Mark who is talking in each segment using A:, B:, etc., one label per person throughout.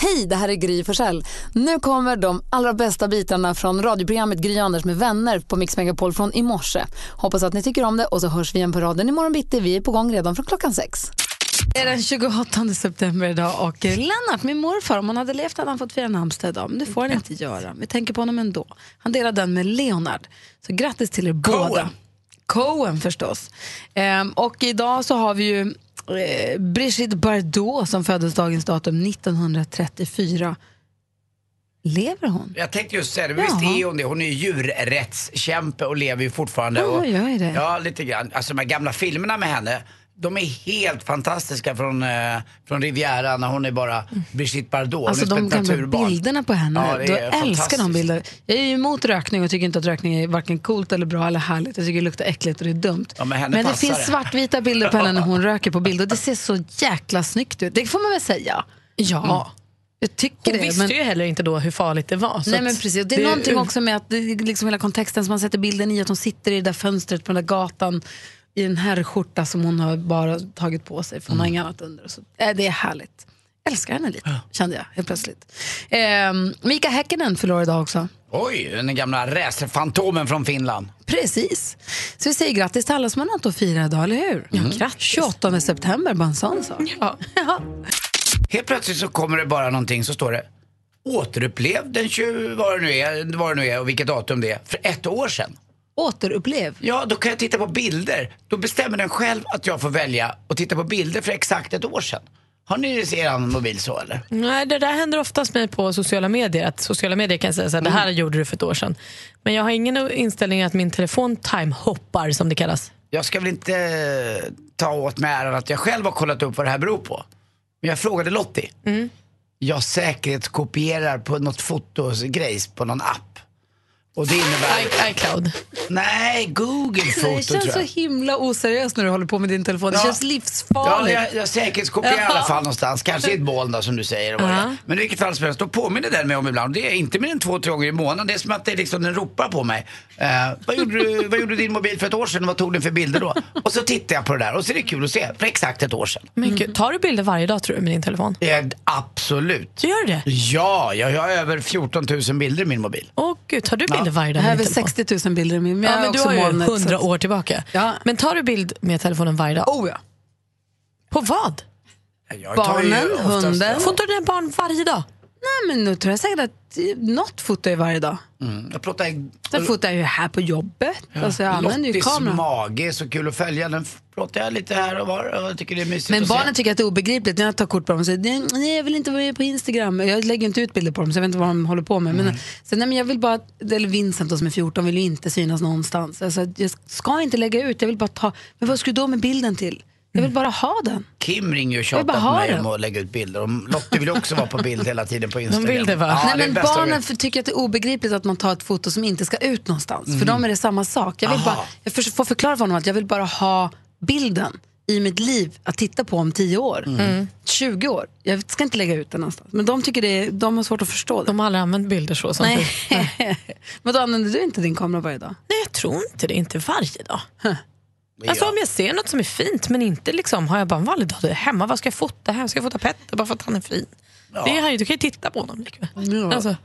A: Hej, det här är Gry Forssell. Nu kommer de allra bästa bitarna från radioprogrammet Gry Anders med vänner på Mix Megapol från i morse. Hoppas att ni tycker om det och så hörs vi igen på raden imorgon bitti. Vi är på gång redan från klockan sex.
B: Det är den 28 september idag och eh, Lennart, min morfar, om han hade levt hade han fått fira namnsdag idag. Men det får han inte göra. Vi tänker på honom ändå. Han delar den med Leonard. Så grattis till er båda. Cohen förstås. Ehm, och idag så har vi ju eh, Brigitte Bardot som föddes dagens datum 1934. Lever hon?
C: Jag tänkte just säga det, men visst
B: Jaha.
C: är hon det? Hon är ju djurrättskämpe och lever ju fortfarande.
B: Ja,
C: och,
B: jag är det.
C: Ja, lite grann. Alltså de här gamla filmerna med henne, de är helt fantastiska från, eh, från Riviera när hon är bara Brigitte Bardot.
B: Alltså de
C: hon är som ett
B: gamla
C: naturbarn.
B: bilderna på henne.
C: Ja, det
B: då
C: är
B: älskar de
C: fantastiskt.
B: bilder. Jag är ju emot rökning och tycker inte att rökning är varken coolt eller bra eller härligt. Jag tycker det luktar äckligt och det är dumt.
C: Ja, men henne
B: men det
C: passar
B: finns
C: det.
B: svartvita bilder på henne när hon röker på bild och det ser så jäkla snyggt ut. Det får man väl säga. Ja. Jag tycker
D: Hon
B: det.
D: visste
B: men-
D: ju heller inte då hur farligt det var. så
B: Nej,
D: att
B: men precis. Det är någonting också med att det är liksom hela kontexten som man sätter bilden i, att hon sitter i det där fönstret på den där gatan i en herrskjorta som hon har bara tagit på sig för hon har inget annat under. Så, äh, det är härligt. Älskar henne lite, kände jag helt plötsligt. Ehm, Mika Häkkinen förlorar idag också.
C: Oj, den gamla racerfantomen från Finland.
B: Precis. Så vi säger grattis till alla som har något att fira idag, eller hur? Ja, grattis. 28 september, bara en sån sak. Ja.
C: Helt plötsligt så kommer det bara någonting så står det återupplev den 20, vad det nu är, vad det nu är och vilket datum det är, för ett år sedan.
B: Återupplev.
C: Ja, då kan jag titta på bilder. Då bestämmer den själv att jag får välja och titta på bilder för exakt ett år sedan. Har ni er mobil så eller?
D: Nej, det där händer oftast mig på sociala medier. Att sociala medier kan säga så här, det
B: Mm.
D: här gjorde du för ett år sedan. Men jag har ingen inställning att min telefon timehoppar som det kallas.
C: Jag ska väl inte eh, ta åt mig äran att jag själv har kollat upp vad det här beror på. Men jag frågade Lottie.
B: Mm.
C: Jag säkerhetskopierar på något fotogrejs på någon app. Och det innebär...
D: I, iCloud.
C: Nej, Google Foto
B: Det känns
C: tror
B: så
C: jag.
B: himla oseriöst när du håller på med din telefon. Det
C: Ja.
B: känns
C: Ja,
B: livsfarligt.
C: jag, jag säkerhetskopierar i alla fall någonstans. Kanske i ett moln då, som du säger. Uh
D: Ja.
C: Men i vilket fall som helst, då påminner den mig om ibland. Det är inte mer än två, tre gånger i månaden. Det är som att det liksom, den ropar på mig. Eh, vad, gjorde du, vad gjorde din mobil för ett år sedan? Vad tog den för bilder då? Och så tittar jag på det där och så är det kul att se. För exakt ett år sedan.
D: Men gud, Mm. tar du bilder varje dag tror du med din telefon?
C: Eh, absolut.
D: Du gör det?
C: Ja, jag har över 14 000 bilder i min mobil.
D: Åh gud, tar du bilder varje
B: Jag
D: dag
B: har
D: med din
B: väl
D: telefon?
B: 60 000 bilder i min, men
D: Ja,
B: jag
D: men du
B: också
D: har ju
B: molnet, så att-
D: 100 år tillbaka.
B: Ja.
D: Men tar du bild med telefonen varje dag?
B: Oh ja.
D: På vad?
C: Jag tar ju
B: Barnen,
C: oftast-
B: hunden.
D: Fotar du dina barn varje dag?
B: Nej, men nu tror jag säkert att eh, något fotar jag varje dag.
C: Mm, Jag pratar
B: Sen fotar jag ju här på jobbet. Alltså jag använder ju
C: Lottis
B: kameran.
C: mage är så kul att följa. Den pratar jag lite här och var. och Jag tycker det är mysigt
B: Men
C: att se.
B: barnen tycker att det är obegripligt när jag tar kort på dem och säger "Nej, nej jag vill inte vara med på Instagram. Jag lägger inte ut bilder på dem så jag vet inte vad de håller på med. Men, sen, nej, men jag vill bara, eller Vincent då, som är 14 vill ju inte synas någonstans. Alltså, jag ska inte lägga ut, jag vill bara ta, men vad ska du då med bilden till? Jag
C: Mm.
B: vill bara ha den.
C: Kim ringer ju och
B: Jag vill bara
C: tjatar på
B: ha
C: mig
B: det.
C: om att lägga ut bilder. Och Lottie vill också vara på bild hela tiden på Instagram.
D: vill det, va?
C: Ja,
B: Nej,
C: det är
B: men
C: bästa
B: barnen
C: jag vet.
B: för, tycker att det är obegripligt att man tar ett foto som inte ska ut någonstans. För
D: Mm.
B: dem är det samma sak. Jag, vill bara, jag förs- får förklara för honom att jag vill bara ha bilden i mitt liv att titta på om 10 år,
D: Mm.
B: 20 år. Jag ska inte lägga ut den någonstans. Men de, tycker det är, de har svårt att förstå det.
D: De har aldrig använt bilder så. Som
B: Nej.
D: du.
B: men då använder du inte din kamera varje dag?
D: Nej, jag tror inte det. Inte varje dag.
C: Ja.
D: Alltså om jag ser något som är fint men inte liksom har jag bara en vanlig dag då är jag hemma. Vad ska jag fota här? Ska jag fota Petter bara för att han är fin? Det är han ju, du kan ju titta på honom likväl.
B: Ja.
D: Alltså,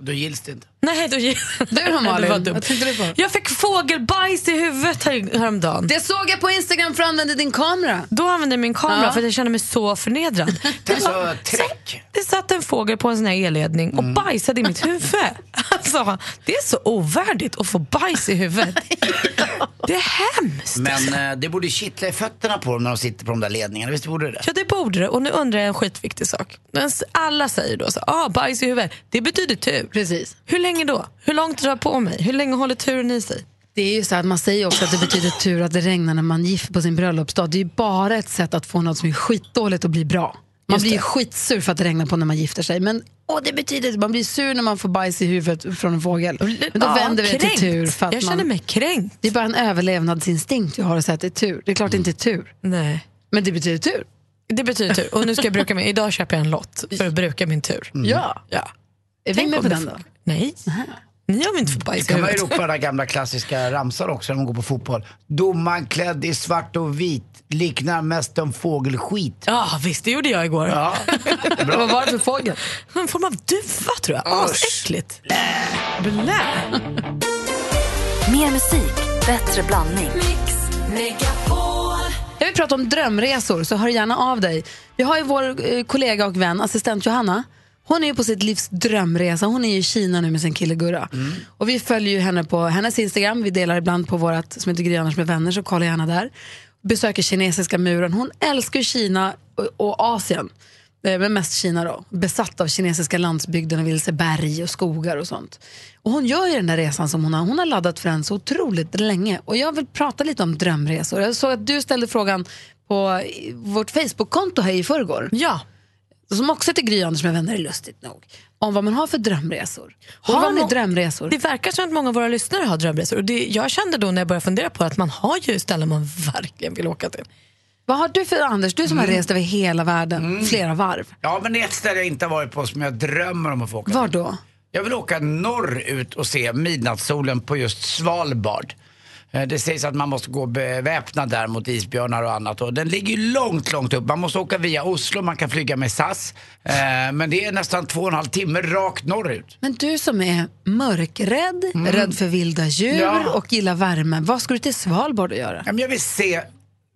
C: Då gills det inte.
D: nej, då ger
B: Du då
D: Det var
B: Malin,
D: dumt.
B: vad tänkte du på?
D: Jag fick fågelbajs i huvudet här, häromdagen.
B: Det såg jag på Instagram för att använda din kamera.
D: Då använde jag min kamera
B: Ja.
D: för att jag kände mig så förnedrad.
C: Tänk så träck.
D: Det satt en fågel på en sån här elledning
C: Mm.
D: och bajsade i mitt huvud. Alltså, det är så ovärdigt att få bajs i huvudet. Det är hemskt.
C: Men eh, det borde kittla i fötterna på dem när de sitter på de där ledningarna. Visst borde det?
D: Ja, det borde det. Och nu undrar jag en skitviktig sak. Men s- Alla säger då så ah, bajs i huvudet. Det betyder tur.
B: Precis.
D: Hur länge då? Hur långt drar jag på mig? Hur länge håller turen i sig?
B: Det är ju så att man säger också att det betyder tur att det regnar när man gifter på sin bröllopsdag. Det är ju bara ett sätt att få något som är skitdåligt att bli bra. Man
D: Just
B: blir ju
D: det.
B: skitsur för att det regnar på när man gifter sig. Men åh, det betyder man blir sur när man får bajs i huvudet från en fågel. Men då
D: Ja,
B: vänder vi det
D: kränkt.
B: till tur. För att
D: jag
B: man,
D: känner mig kränkt.
B: Det är bara en överlevnadsinstinkt vi har att säga att det är tur. Det är klart det inte är tur,
D: Nej.
B: men det betyder tur.
D: Det betyder tur. Och nu ska jag bruka min... Idag köper jag en lott för att bruka min tur.
B: Ja.
D: Ja.
B: Mm. Är vi
D: Tänk
B: med
D: om
B: på
D: det
B: den då?
D: funkar. Nej.
E: Ni har väl inte fått bajs i
C: Kan man ju
E: huvudet?
C: ropa den där gamla klassiska ramsan också när man går på fotboll. Domaren klädd i svart och vit, liknar mest en fågelskit.
E: Ja, visst. Det gjorde jag igår.
C: Ja,
A: Vad var det för fågel?
E: En form av duva, tror jag. Asäckligt. Blä.
F: Mer musik, bättre blandning.
B: Jag vill prata om drömresor, så hör gärna av dig. Vi har ju vår eh, kollega och vän, assistent Johanna. Hon är ju på sitt livs drömresa. Hon är ju i Kina nu med sin kille Gurra. Och vi följer ju henne på hennes Instagram. Vi delar ibland på vårt som heter Gry Anders med vänner, så kolla gärna där. Besöker kinesiska muren. Hon älskar ju Kina och, och Asien. Eh, Men mest Kina då. Besatt av kinesiska landsbygden och vill se berg och skogar och sånt. Och hon gör ju den där resan som hon har, hon har laddat för den så otroligt länge. Och jag vill prata lite om drömresor. Jag såg att du ställde frågan på i- vårt Facebook-konto här i förrgår.
E: Ja.
B: Som också heter Gry Anders med vänner, lustigt nog. Om vad man har för drömresor. Och har
E: Har
B: ni
E: må-
B: drömresor?
E: Det verkar som att många av våra lyssnare har drömresor. Och det, jag kände då när jag började fundera på att man har ju ställen man verkligen vill åka till.
B: Vad har du för Anders, du som
E: Mm.
B: har rest över hela världen flera varv.
C: ja men det är ett ställe jag inte har varit på som jag drömmer om att få åka till.
B: Var då?
C: Jag vill åka norrut och se midnattssolen på just Svalbard. Eh, Det sägs att man måste gå beväpnad där mot isbjörnar och annat. Och den ligger ju långt, långt upp. Man måste åka via Oslo, man kan flyga med SAS. Eh, Men det är nästan två och en halv timme rakt norrut.
B: Men du som är mörkrädd, rädd för vilda djur
C: Mm. Ja.
B: och gillar värme. Vad ska du till Svalbard och göra?
C: Ja, men Jag vill se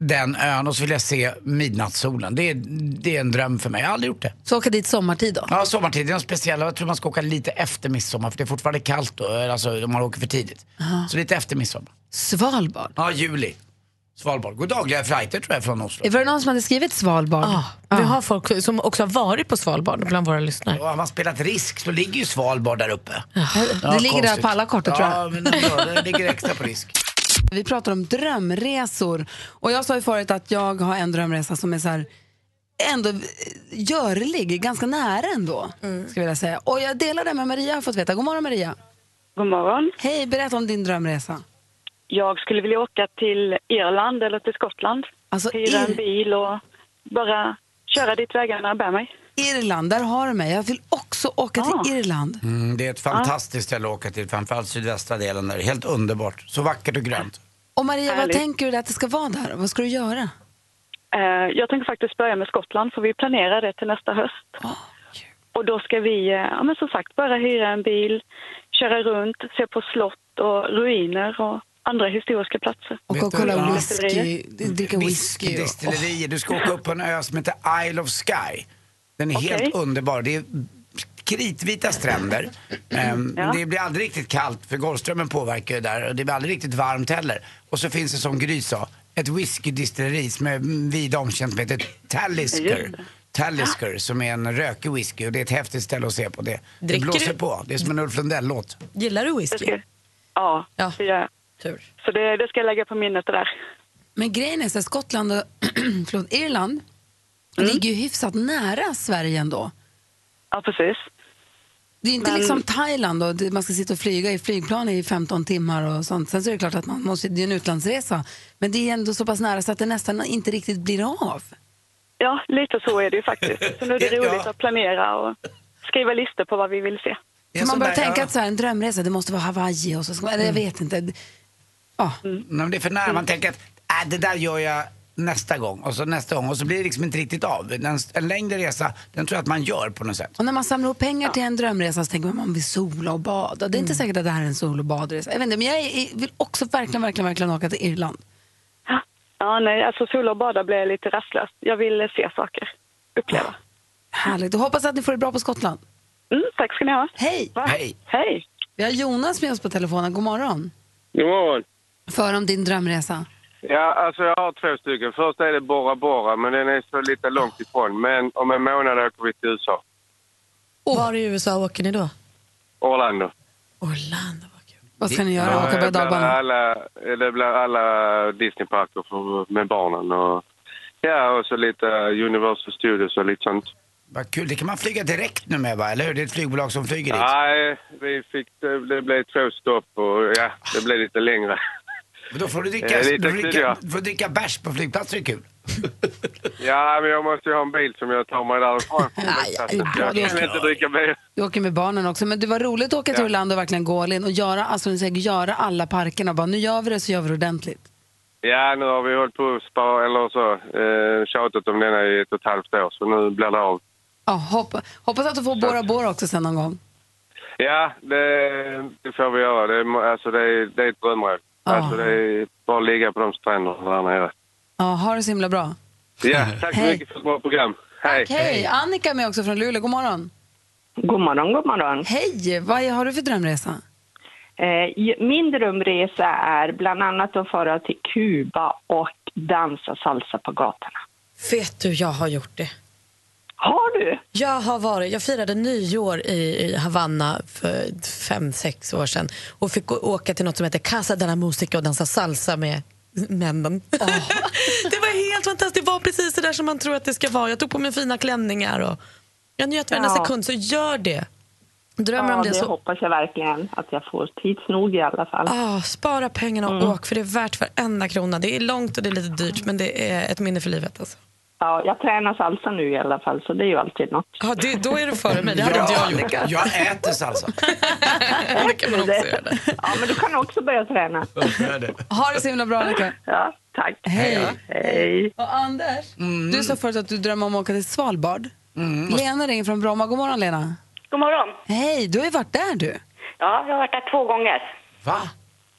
C: den ön och så vill jag se midnattssolen. Det är, det är en dröm för mig. Jag har aldrig gjort det.
B: Så åka dit sommartid då?
C: Ja, sommartid det är något speciellt. Jag tror man ska åka lite efter midsommar för det är fortfarande kallt då, alltså om man åker för tidigt. Så lite efter midsommar.
B: Svalbard.
C: Ja, juli. Svalbard. God dagliga flighter tror jag från Oslo.
B: Var det någon som hade skrivit Svalbard?
E: Ja, Vi har folk som också har varit på Svalbard bland våra lyssnare.
C: Och har man spelat risk så ligger ju Svalbard där uppe.
B: Det ligger där på alla kartor
C: ja,
B: tror jag.
C: konstigt. Ja, men ändå, det ligger extra på risk.
B: Vi pratar om drömresor. Och jag sa ju förut att jag har en drömresa som är så här ändå eh, görlig, ganska nära ändå.
C: Mm.
B: Ska jag vilja säga. Och jag delar det med Maria, har jag fått veta. God morgon Maria.
G: God morgon.
B: Hej, berätta om din drömresa.
G: Jag skulle vilja åka till Irland eller till Skottland.
B: Alltså,
G: Hyra
B: Ir-
G: en bil och bara köra dit vägarna bär mig.
B: Irland, där har du mig. Jag vill också åka till Irland.
C: Mm, det är ett fantastiskt ställe att åka till, framförallt sydvästra delen där. Helt underbart. Så vackert och grönt.
B: Och Maria, vad
G: Härligt.
B: tänker du dig att det ska vara där? Vad ska du göra?
G: Eh, Jag tänker faktiskt börja med Skottland för vi planerar det till nästa höst. Och då ska vi, eh, ja men som sagt, bara hyra en bil, köra runt, se på slott och ruiner och andra historiska platser.
B: Och
C: Vet
B: gå och
C: du,
B: kolla
C: ja.
B: whisky, dricka whisky. och-
C: Whiskydestillerier. Du ska åka upp på en ö som heter Isle of Sky. Den är
G: Okej.
C: helt underbar. Det är kritvita stränder. Ehm,
G: Ja.
C: Det blir aldrig riktigt kallt för Golfströmmen påverkar ju där och det blir aldrig riktigt varmt heller. Och så finns det som Gry sa, ett whiskydestilleri som är vida omkänt med heter
G: Just
C: Talisker.
G: det.
C: Talisker som är en rökig whisky och det är ett häftigt ställe att se på. Det, det
E: Dricker
C: blåser
E: du?
C: på. Det är som en Ulf Lundell-låt.
E: Gillar du
G: Det
E: whisky?
G: ska, ja,
E: Ja.
G: det gör jag.
E: Tur.
G: Så det, det ska jag lägga på minnet det där.
B: Men grejen är så här, Skottland och förlåt, Irland ligger ju hyfsat nära Sverige ändå.
G: Ja, precis.
B: Det är ju inte
G: Men-
B: liksom Thailand och det- man ska sitta och flyga i flygplan i 15 timmar och sånt. Sen så är det klart att man måste, det är en utlandsresa. Men det är ändå så pass nära så att det nästan inte riktigt blir av.
G: Ja, lite så är det ju faktiskt. Så nu är det
C: Ja.
G: roligt att planera och skriva listor på vad vi vill se.
C: Det är
B: För
C: en
B: man
C: sån
B: börjar
C: där-
B: tänka
C: ja. Mm.
B: att så här, en drömresa, det måste vara Hawaii och så ska man, eller jag vet inte. Ja,
C: Nej, men det är för nära.
D: Mm.
C: Man tänker att äh, det där gör jag nästa gång och så nästa gång och så blir det liksom inte riktigt av. En, en längre resa, den tror jag att man gör på något sätt.
B: Och när man samlar ihop pengar till en drömresa så tänker man man vill sola och bada. Det är
C: Mm.
B: inte säkert att det här är en sol och badresa. Jag vet inte, men jag är- vill också verkligen, verkligen, verkligen åka till Irland.
G: Ja, nej, alltså sola och bada blir lite rastlös. Jag vill eh, se saker, uppleva.
B: Härligt. Och hoppas att ni får det bra på Skottland.
G: Mm, tack ska ni ha.
B: Hej!
G: Va?
C: Hej.
G: Hej.
B: Vi har Jonas med oss på telefonen. God morgon.
H: God morgon.
B: För om din drömresa.
H: Ja, alltså jag har två stycken. Först är det Bora Bora, men den är så lite långt ifrån. Men om en månad åker vi till USA.
E: Var i USA åker ni då?
H: Orlando.
E: Orlando. vad kul.
B: Vad ska ni göra?
H: Ja,
B: åka
H: det
B: på
H: blir
B: dagbanan?
H: alla, det blir alla Disneyparker för, med barnen och, ja, och så lite Universal Studios och lite sånt.
C: Vad kul, det kan man flyga direkt nu med va? Eller hur? Det är ett flygbolag som flyger dit.
H: Nej, vi fick, det, det blev två stopp och ja, det blev lite längre.
C: Men Då får du
H: Det
C: dricka,
H: är lite
C: du
H: kul,
C: dricka,
H: ja.
C: du får dricka bärs på flygplatsen, det är kul.
H: Ja, men jag måste ju ha en bil som jag tar mig därifrån.
B: Aj, aj, bra,
H: jag
B: det är
H: kan inte dricka bil.
B: Vi åker med barnen också. Men det var roligt att åka till
H: Ja.
B: Orlando och verkligen gå all in och göra, alltså, ni säger, göra alla parkerna. Bara, nu gör vi det så gör vi det ordentligt.
H: Ja, nu har vi hållit på och spar, eller så, eh, tjatat om denna i ett och ett halvt år, så nu blir det av.
B: Ja, hoppa, hoppas att du får Bora Bora också sen någon gång.
H: Ja, det, det får vi göra. Det, är må- alltså, det, är- det är ett drömmål.
B: Ah.
H: Alltså, det är bara att ligga på de stränderna där nere.
B: Ja, ha det så himla bra.
H: Ja, tack så
B: Hej.
H: mycket för ett bra program. Hej!
B: Hej. Annika är med också från Luleå. God morgon.
I: God morgon, god morgon.
B: Hej! Vad har du för drömresa?
I: Eh, Min drömresa är bland annat att fara till Kuba och dansa salsa på gatorna.
D: Vet du, jag har gjort det.
I: Har du?
D: Jag har varit, jag firade nyår i, i Havanna för fem, sex år sedan och fick å- åka till något som heter Casa de la Musica och dansa salsa med männen. det var helt fantastiskt. Det var precis det där som man tror att det ska vara. Jag tog på mig fina klänningar och jag njöt varenda
I: Ja.
D: sekund, så gör det. Drömmer
I: Ja,
D: om
I: det
D: det så
I: hoppas jag verkligen att jag får tids nog i alla fall.
D: Ah, spara pengarna och
I: Mm.
D: åk, för det är värt varenda krona. Det är långt och det är lite dyrt, men det är ett minne för livet. Alltså.
I: Ja, jag tränar salsa nu i alla fall, så det är ju alltid något.
D: Ah, det, då är du före mig. Det hade inte jag gjort.
C: jag, jag äter salsa.
D: Det kan man också göra.
I: Ja, men du kan också börja träna.
B: Ha det så himla bra, Annika.
I: Ja, tack.
B: Hej.
I: Hej.
B: Och Anders, du sa förut att du drömmer om att åka till Svalbard. Lena ringer från Bromma. God morgon, Lena.
J: God morgon.
B: Mm. Hej, du har ju varit där du.
J: Ja, jag har varit där två gånger.
C: Va?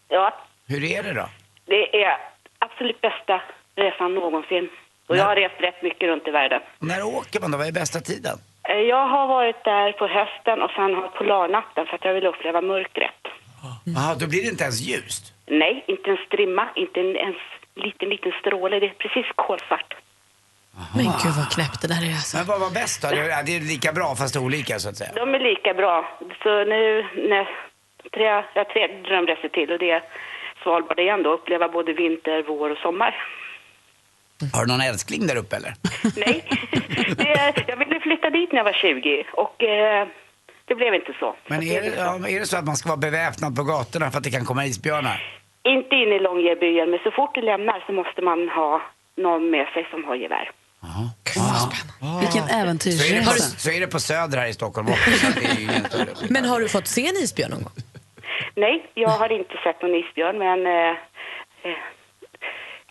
J: Ja,
C: Hur är det då?
J: det är absolut bästa resan någonsin. Och jag har rest rätt mycket runt i världen.
C: När åker man då? Vad är bästa tiden?
J: Eh, Jag har varit där på hösten och sen har polarnatten för att jag vill uppleva mörkret.
D: Mm.
C: Jaha, då blir det inte ens ljust.
J: Nej, inte en strimma, inte en, ens liten, liten stråle. Det är precis kolsvart.
D: Men gud vad knäppt det där är alltså.
C: Men vad var bäst då? Det är det är lika bra fast olika så att säga.
J: De är lika bra. Så nu, när tre, jag har tre drömresor till och det är Svalbard igen då. Uppleva både vinter, vår och sommar.
C: Har du någon älskling där uppe eller?
J: Nej, det, är- jag ville flytta dit när jag var 20 och eh, det blev inte så.
C: Men är det, ja, men är det så att man ska vara beväpnad på gatorna för att det kan komma isbjörnar?
J: Inte in i Långebyen, men så fort du lämnar så måste man ha någon med sig som har gevär.
B: Vilken
C: Så är, det på,
B: äventyrsresa.
C: så är det på Söder här i Stockholm också. Så att det är ju ingen större skillnad.
D: Men har du fått se en isbjörn någon gång?
J: Nej, jag har inte sett någon isbjörn, men eh, eh,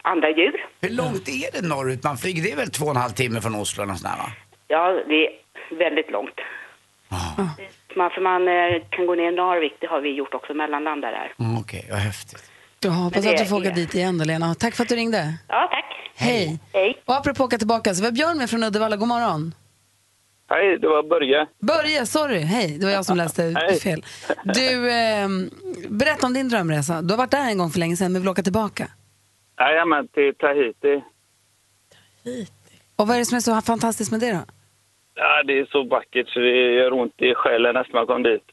J: andra djur.
C: Hur långt är det norrut man flyger? Det är väl två och en halv timme från Oslo eller nåt sånt där, va?
J: Ja, det är väldigt långt.
C: Ah.
J: Man, för man eh, kan gå ner i Narvik, det har vi gjort också, mellanlandar där.
C: Mm, Okej, vad häftigt.
B: Jag hoppas
J: Men
B: att
J: det
B: du får åka
J: är-
B: dit igen då, Lena. Tack för att du ringde.
J: Ja, tack.
B: Hej.
J: Hej.
B: Och apropå åka tillbaka, så var Björn med från Uddevalla. God morgon.
H: Hej, det var Börje.
B: Börje, sorry. Hej, det var jag som läste
H: Hej.
B: fel. Du, eh, berätta om din drömresa. Du har varit där en gång för länge sedan, men vill åka tillbaka.
H: Jajamän, till Tahiti.
B: Och vad är det som är så fantastiskt med det då?
H: Ja, det är så vackert så det gör ont i själen nästan man kom dit.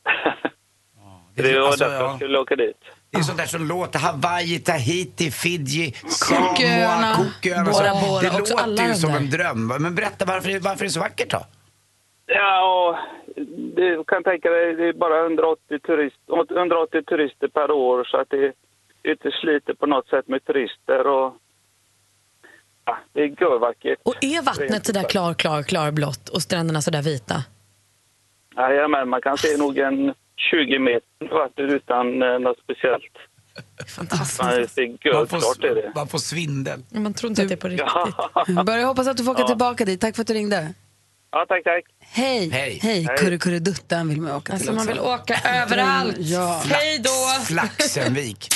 H: Det var
C: Alltså,
H: därför
C: ja.
H: jag skulle åka dit.
C: Det är sånt där som låter Hawaii, Tahiti, Fiji,
B: Cooköarna.
C: Samoa, Cooköarna. och så.
D: Bora Bora,
C: Det
D: också alla
C: låter ju
D: de
C: som
D: där.
C: en dröm. Men berätta, varför, är- varför är det så vackert då?
H: Ja, och du kan tänka dig, det är bara 180, turist, 180 turister per år så att det inte sliter på något sätt med turister och ja, det är görvackert.
D: Och är vattnet sådär klar, klar, klarblått och stränderna sådär vita?
H: Jajamän, man kan se nog en 20 meter vatten utan eh, något speciellt. Fantastiskt. Det är
C: Man får,
H: görklart är det.
C: man får svindel.
D: Man tror inte att det är på riktigt.
B: Mm, Börje, hoppas att du får åka tillbaka dit. Tack för att du ringde.
H: Ja, tack, tack.
B: Hej.
C: Hej.
B: Hej. Kurrekurreduttan vill man åka till
D: Alltså man
B: också.
D: vill åka överallt.
B: Ja.
D: Hej då!
C: Flaxenvik.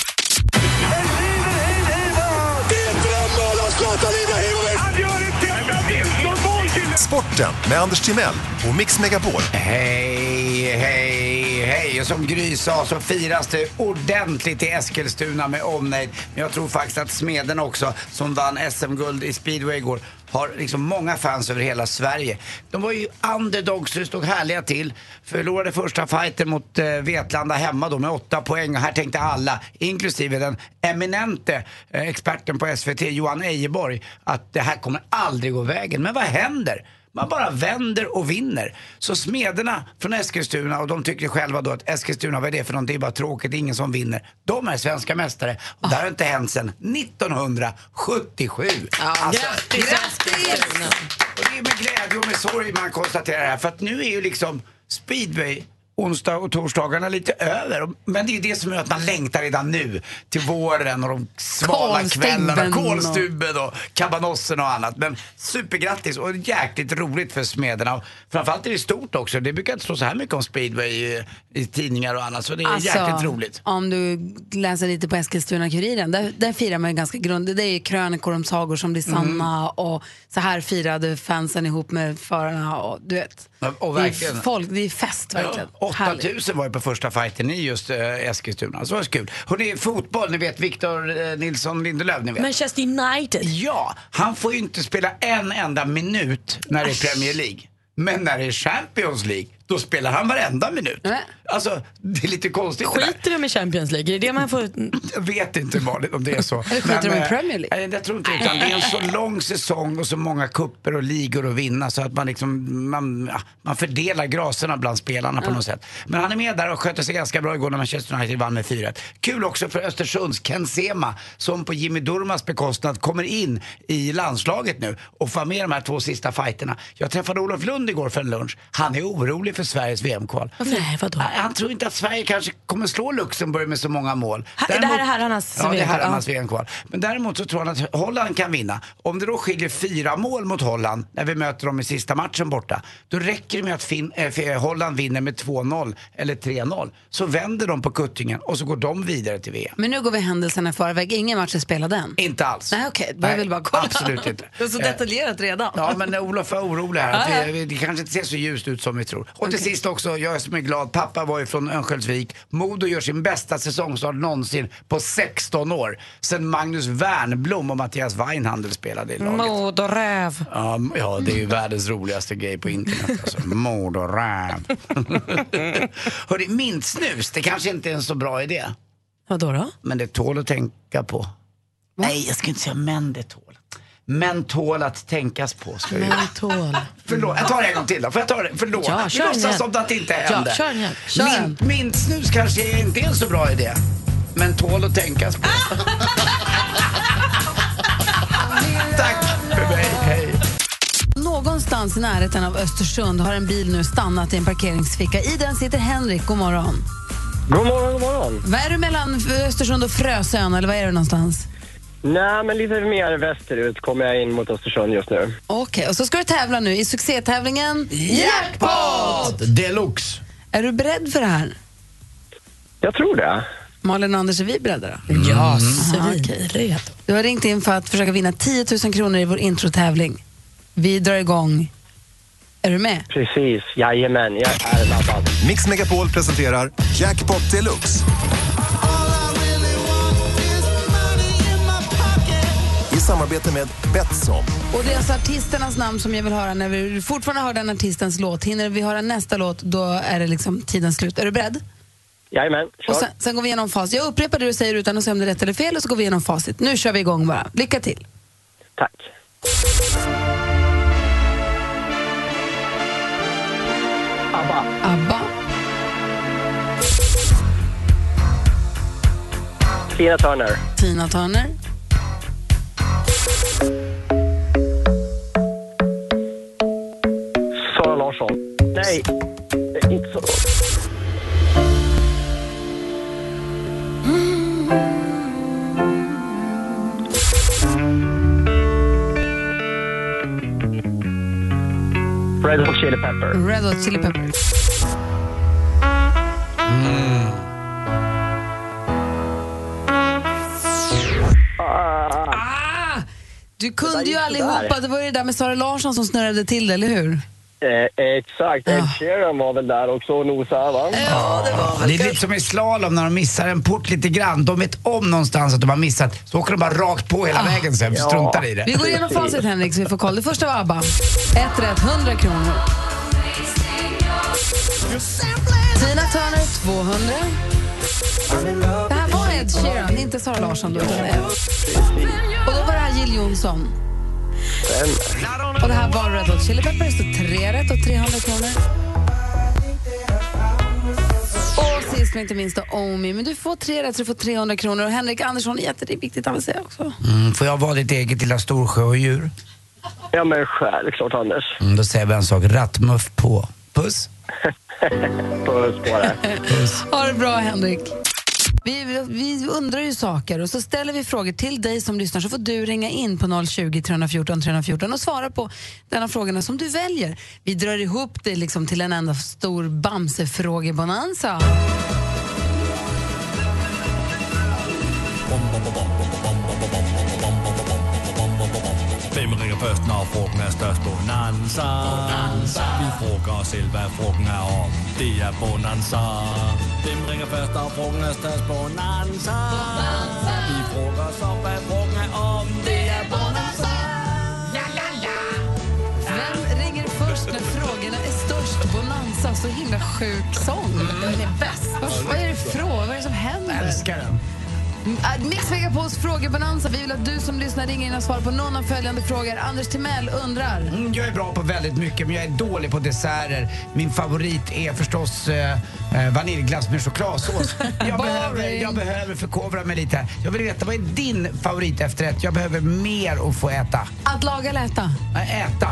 K: Sporten med Anders Timell och Mix Megapol.
C: Hej, hej, hej. Och som Gry sa så firas det ordentligt i Eskilstuna med omnejd. Men jag tror faktiskt att Smeden också, som vann SM-guld i speedway igår, har liksom många fans över hela Sverige. De var ju underdogs, det stod härliga till. Förlorade första fighten mot eh, Vetlanda hemma då med åtta poäng. Och här tänkte alla, inklusive den eminente eh, experten på SVT, Johan Ejeborg, att det här kommer aldrig gå vägen. Men vad händer? Man bara vänder och vinner. Så smederna från Eskilstuna, och de tycker själva då att Eskilstuna, vad är det för någonting? Det är bara tråkigt, det är ingen som vinner. De är svenska mästare. Och det här har inte hänt sedan 1977. Alltså, och det är med glädje och med sorg man konstaterar det här. För att nu är ju liksom speedway onsdag och torsdagarna lite över. Och- Men det är ju det som gör att man längtar redan nu till våren och de svala
L: Kolstubben
C: kvällarna.
L: och-
C: Kolstubben och kabanossen och annat. Men supergrattis och jäkligt roligt för smederna. Och Framförallt är det stort också. Det brukar inte stå så här mycket om speedway i, i tidningar och annat. Så det är
L: Alltså,
C: jäkligt roligt.
B: Alltså, Om du läser lite på Eskilstuna-Kuriren, där, där firar man ju ganska grundligt. Det är ju krönikor om sagor som blir sanna
C: Mm.
B: och så här firade fansen ihop med förarna. Och, du vet.
C: och
B: Det
C: verkligen.
B: är, folk, det är fest verkligen.
C: 8000 var ju på första fighten i just eh, Eskilstuna, så det var så kul. Hörrni, fotboll, ni vet Victor eh, Nilsson Lindelöf, ni vet.
D: Manchester United.
C: Ja, han får ju inte spela en enda minut när det är Premier League. Men när det är Champions League, då spelar han varenda minut.
D: Äh.
C: Alltså, det är lite konstigt det där.
D: Skiter de i Champions League? Är det det man får...
C: Jag vet inte Malin om det är så.
D: Eller skiter de i
C: eh,
D: Premier League?
C: Nej, jag tror inte utan det är en så lång säsong och så många kupper och ligor att vinna så att man liksom, man, ja, man fördelar graserna bland spelarna på
L: Ja.
C: något sätt. Men han är med där och skötte sig ganska bra igår när Manchester United vann med 4 Kul också för Östersunds Ken Sema som på Jimmy Durmas bekostnad kommer in i landslaget nu och får vara med i de här två sista fighterna. Jag träffade Olof Lund igår för en lunch. Han är orolig för Sveriges VM-kval.
D: Nej, vadå?
C: Han tror inte att Sverige kanske kommer slå Luxemburg med så många mål.
D: det här är herrarnas
C: Ja, det är
D: VM-kval.
C: herrarnas VM-kval. Men däremot så tror han att Holland kan vinna. Om det då skiljer fyra mål mot Holland när vi möter dem i sista matchen borta, då räcker det med att fin- eh, f- eh, Holland vinner med 2-0 eller 3-0. Så vänder de på kuttingen och så går de vidare till VM.
B: Men nu går vi händelserna i förväg. Ingen match är spelad än.
C: Inte alls.
B: Nej, okej. Okay. Jag
C: Nej,
B: vill bara kolla.
C: absolut inte.
B: Det är så
C: Eh,
B: detaljerat redan.
C: Ja, men Olof är orolig här.
B: Ja,
C: Att
B: ja.
C: vi, vi, det kanske inte ser så ljust ut som vi tror. Och till sist också, jag som är glad, pappa var ju från Örnsköldsvik. Modo gör sin bästa säsongstart någonsin på 16 år. Sen Magnus Wernbloom och Mattias Weinhandel spelade i
B: Mm.
C: laget.
E: Mod och räv.
C: Ja, m- ja, det är ju världens roligaste grej på internet. Alltså. Mord och räv. Hörni, mintsnus, det kanske inte är en så bra idé.
D: Vadå då?
C: Men det tål att tänka på. Nej, jag ska inte säga men det tål. Men tål att tänkas på. Ska jag ju-
D: Mentol.
C: Förlåt, jag tar det en gång till då. Får jag ta det? Förlåt.
D: Ja,
C: Vi
D: kör den igen.
C: låtsas som att det inte
D: Ja,
C: hände.
D: kör den igen. Kör
C: Mint- Mintsnus kanske är inte är en så bra idé. Men tål att tänkas på. Tack för mig. Hej.
B: Någonstans i närheten av Östersund har en bil nu stannat i en parkeringsficka. I den sitter Henrik. God morgon.
M: God morgon, god morgon.
B: Vad är du mellan Östersund och Frösön eller vad är du någonstans?
M: Nej, men lite mer västerut kommer jag in mot Östersund just nu.
B: Okej, och så ska du tävla nu i succétävlingen
M: Jackpot!
C: Deluxe.
B: Är du beredd för det här?
M: Jag tror det.
B: Malin och Anders, är vi beredda då?
M: Ja,
B: svinredo. Du har ringt in för att försöka vinna 10 000 kronor i vår introtävling. Vi drar igång. Är du med?
M: Precis, jajamän. Jag är laddad.
K: Mix Megapol presenterar Jackpot Deluxe. I samarbete med Betsson.
B: Och det är alltså artisternas namn som jag vill höra när vi fortfarande hör den artistens låt. Hinner vi höra nästa låt, då är det liksom tiden slut. Är du beredd?
M: Jajamän, kör.
B: Och sen, sen går vi igenom facit. Jag upprepar det du säger utan att säga om det är rätt eller fel och så går vi igenom facit. Nu kör vi igång bara. Lycka till.
M: Tack. ABBA.
B: ABBA.
M: Tina Turner.
B: Tina Turner.
M: Sara Larsson. Nej, eh, inte så. Red Hot Chili Pepper.
B: Red Hot Chili Peppers. Mm. Ah! Du kunde ju
M: gick sådär.
B: allihopa. Det var ju det där med Sara Larsson som snurrade till det, eller hur?
M: Eh, exakt. Ed Sheeran var väl där också och nosade, va?
B: Ja, det var
C: Det är lite som i slalom när de missar en port lite grann. De vet om någonstans att de har missat, så åker de bara rakt på hela vägen sen.
M: Ja.
C: Struntar i det.
B: Vi går igenom facit, Henrik, så vi får koll. Det första var ABBA. Ett rätt, 100 kronor. Tina Turner, 200. Det här var Ed Sheeran, inte Sara Larsson. Då, utan Ed. Och då var det här Jill Johnson. Och det här var Red Hot Chili Peppers, så tre rätt och 300 kronor. Och sist men inte minst då Omi. Men du får tre rätt så du får 300 kronor. Och Henrik Andersson, jätteviktigt att säga också.
C: Mm, får jag vara ditt eget lilla storsjöodjur?
M: Ja, men själv, klart Anders.
C: Mm, då säger vi en sak. Rattmuff på. Puss!
M: Puss på dig.
C: Puss.
B: Ha det bra, Henrik. Vi, vi undrar ju saker och så ställer vi frågor till dig som lyssnar så får du ringa in på 020 314 314 och svara på denna frågorna som du väljer. Vi drar ihop det liksom till en enda stor Bamse-frågebonanza.
L: Hvem ringer først, når frugten er størst? Bonanza. Bonanza. Vi frugger os selv, hvad frugten er om. Det er Bonanza. Hvem ringer først, når frugten er størst? Bonanza. Bonanza. Vi frugger os op, hvad frugten er om. Det er Bonanza. Ja, ja, ja.
B: Vem ringer först när frågorna är störst? Bonanza, så himla sjuk sång. Den är bäst. Vad, vad är det från? Vad är det som händer? Jag älskar den. Äh, Mix Megapols frågebonanza. Vi vill att du som lyssnar ringer in och svarar på någon av följande frågor. Anders Timell undrar.
C: Mm, Jag är bra på väldigt mycket, men jag är dålig på desserter. Min favorit är förstås eh, eh, vaniljglass med chokladsås. Jag behöver, jag behöver förkovra mig lite här. Jag vill veta, vad är din favorit efterrätt? Jag behöver mer att få äta.
B: Att laga eller äta?
C: Äh, äta.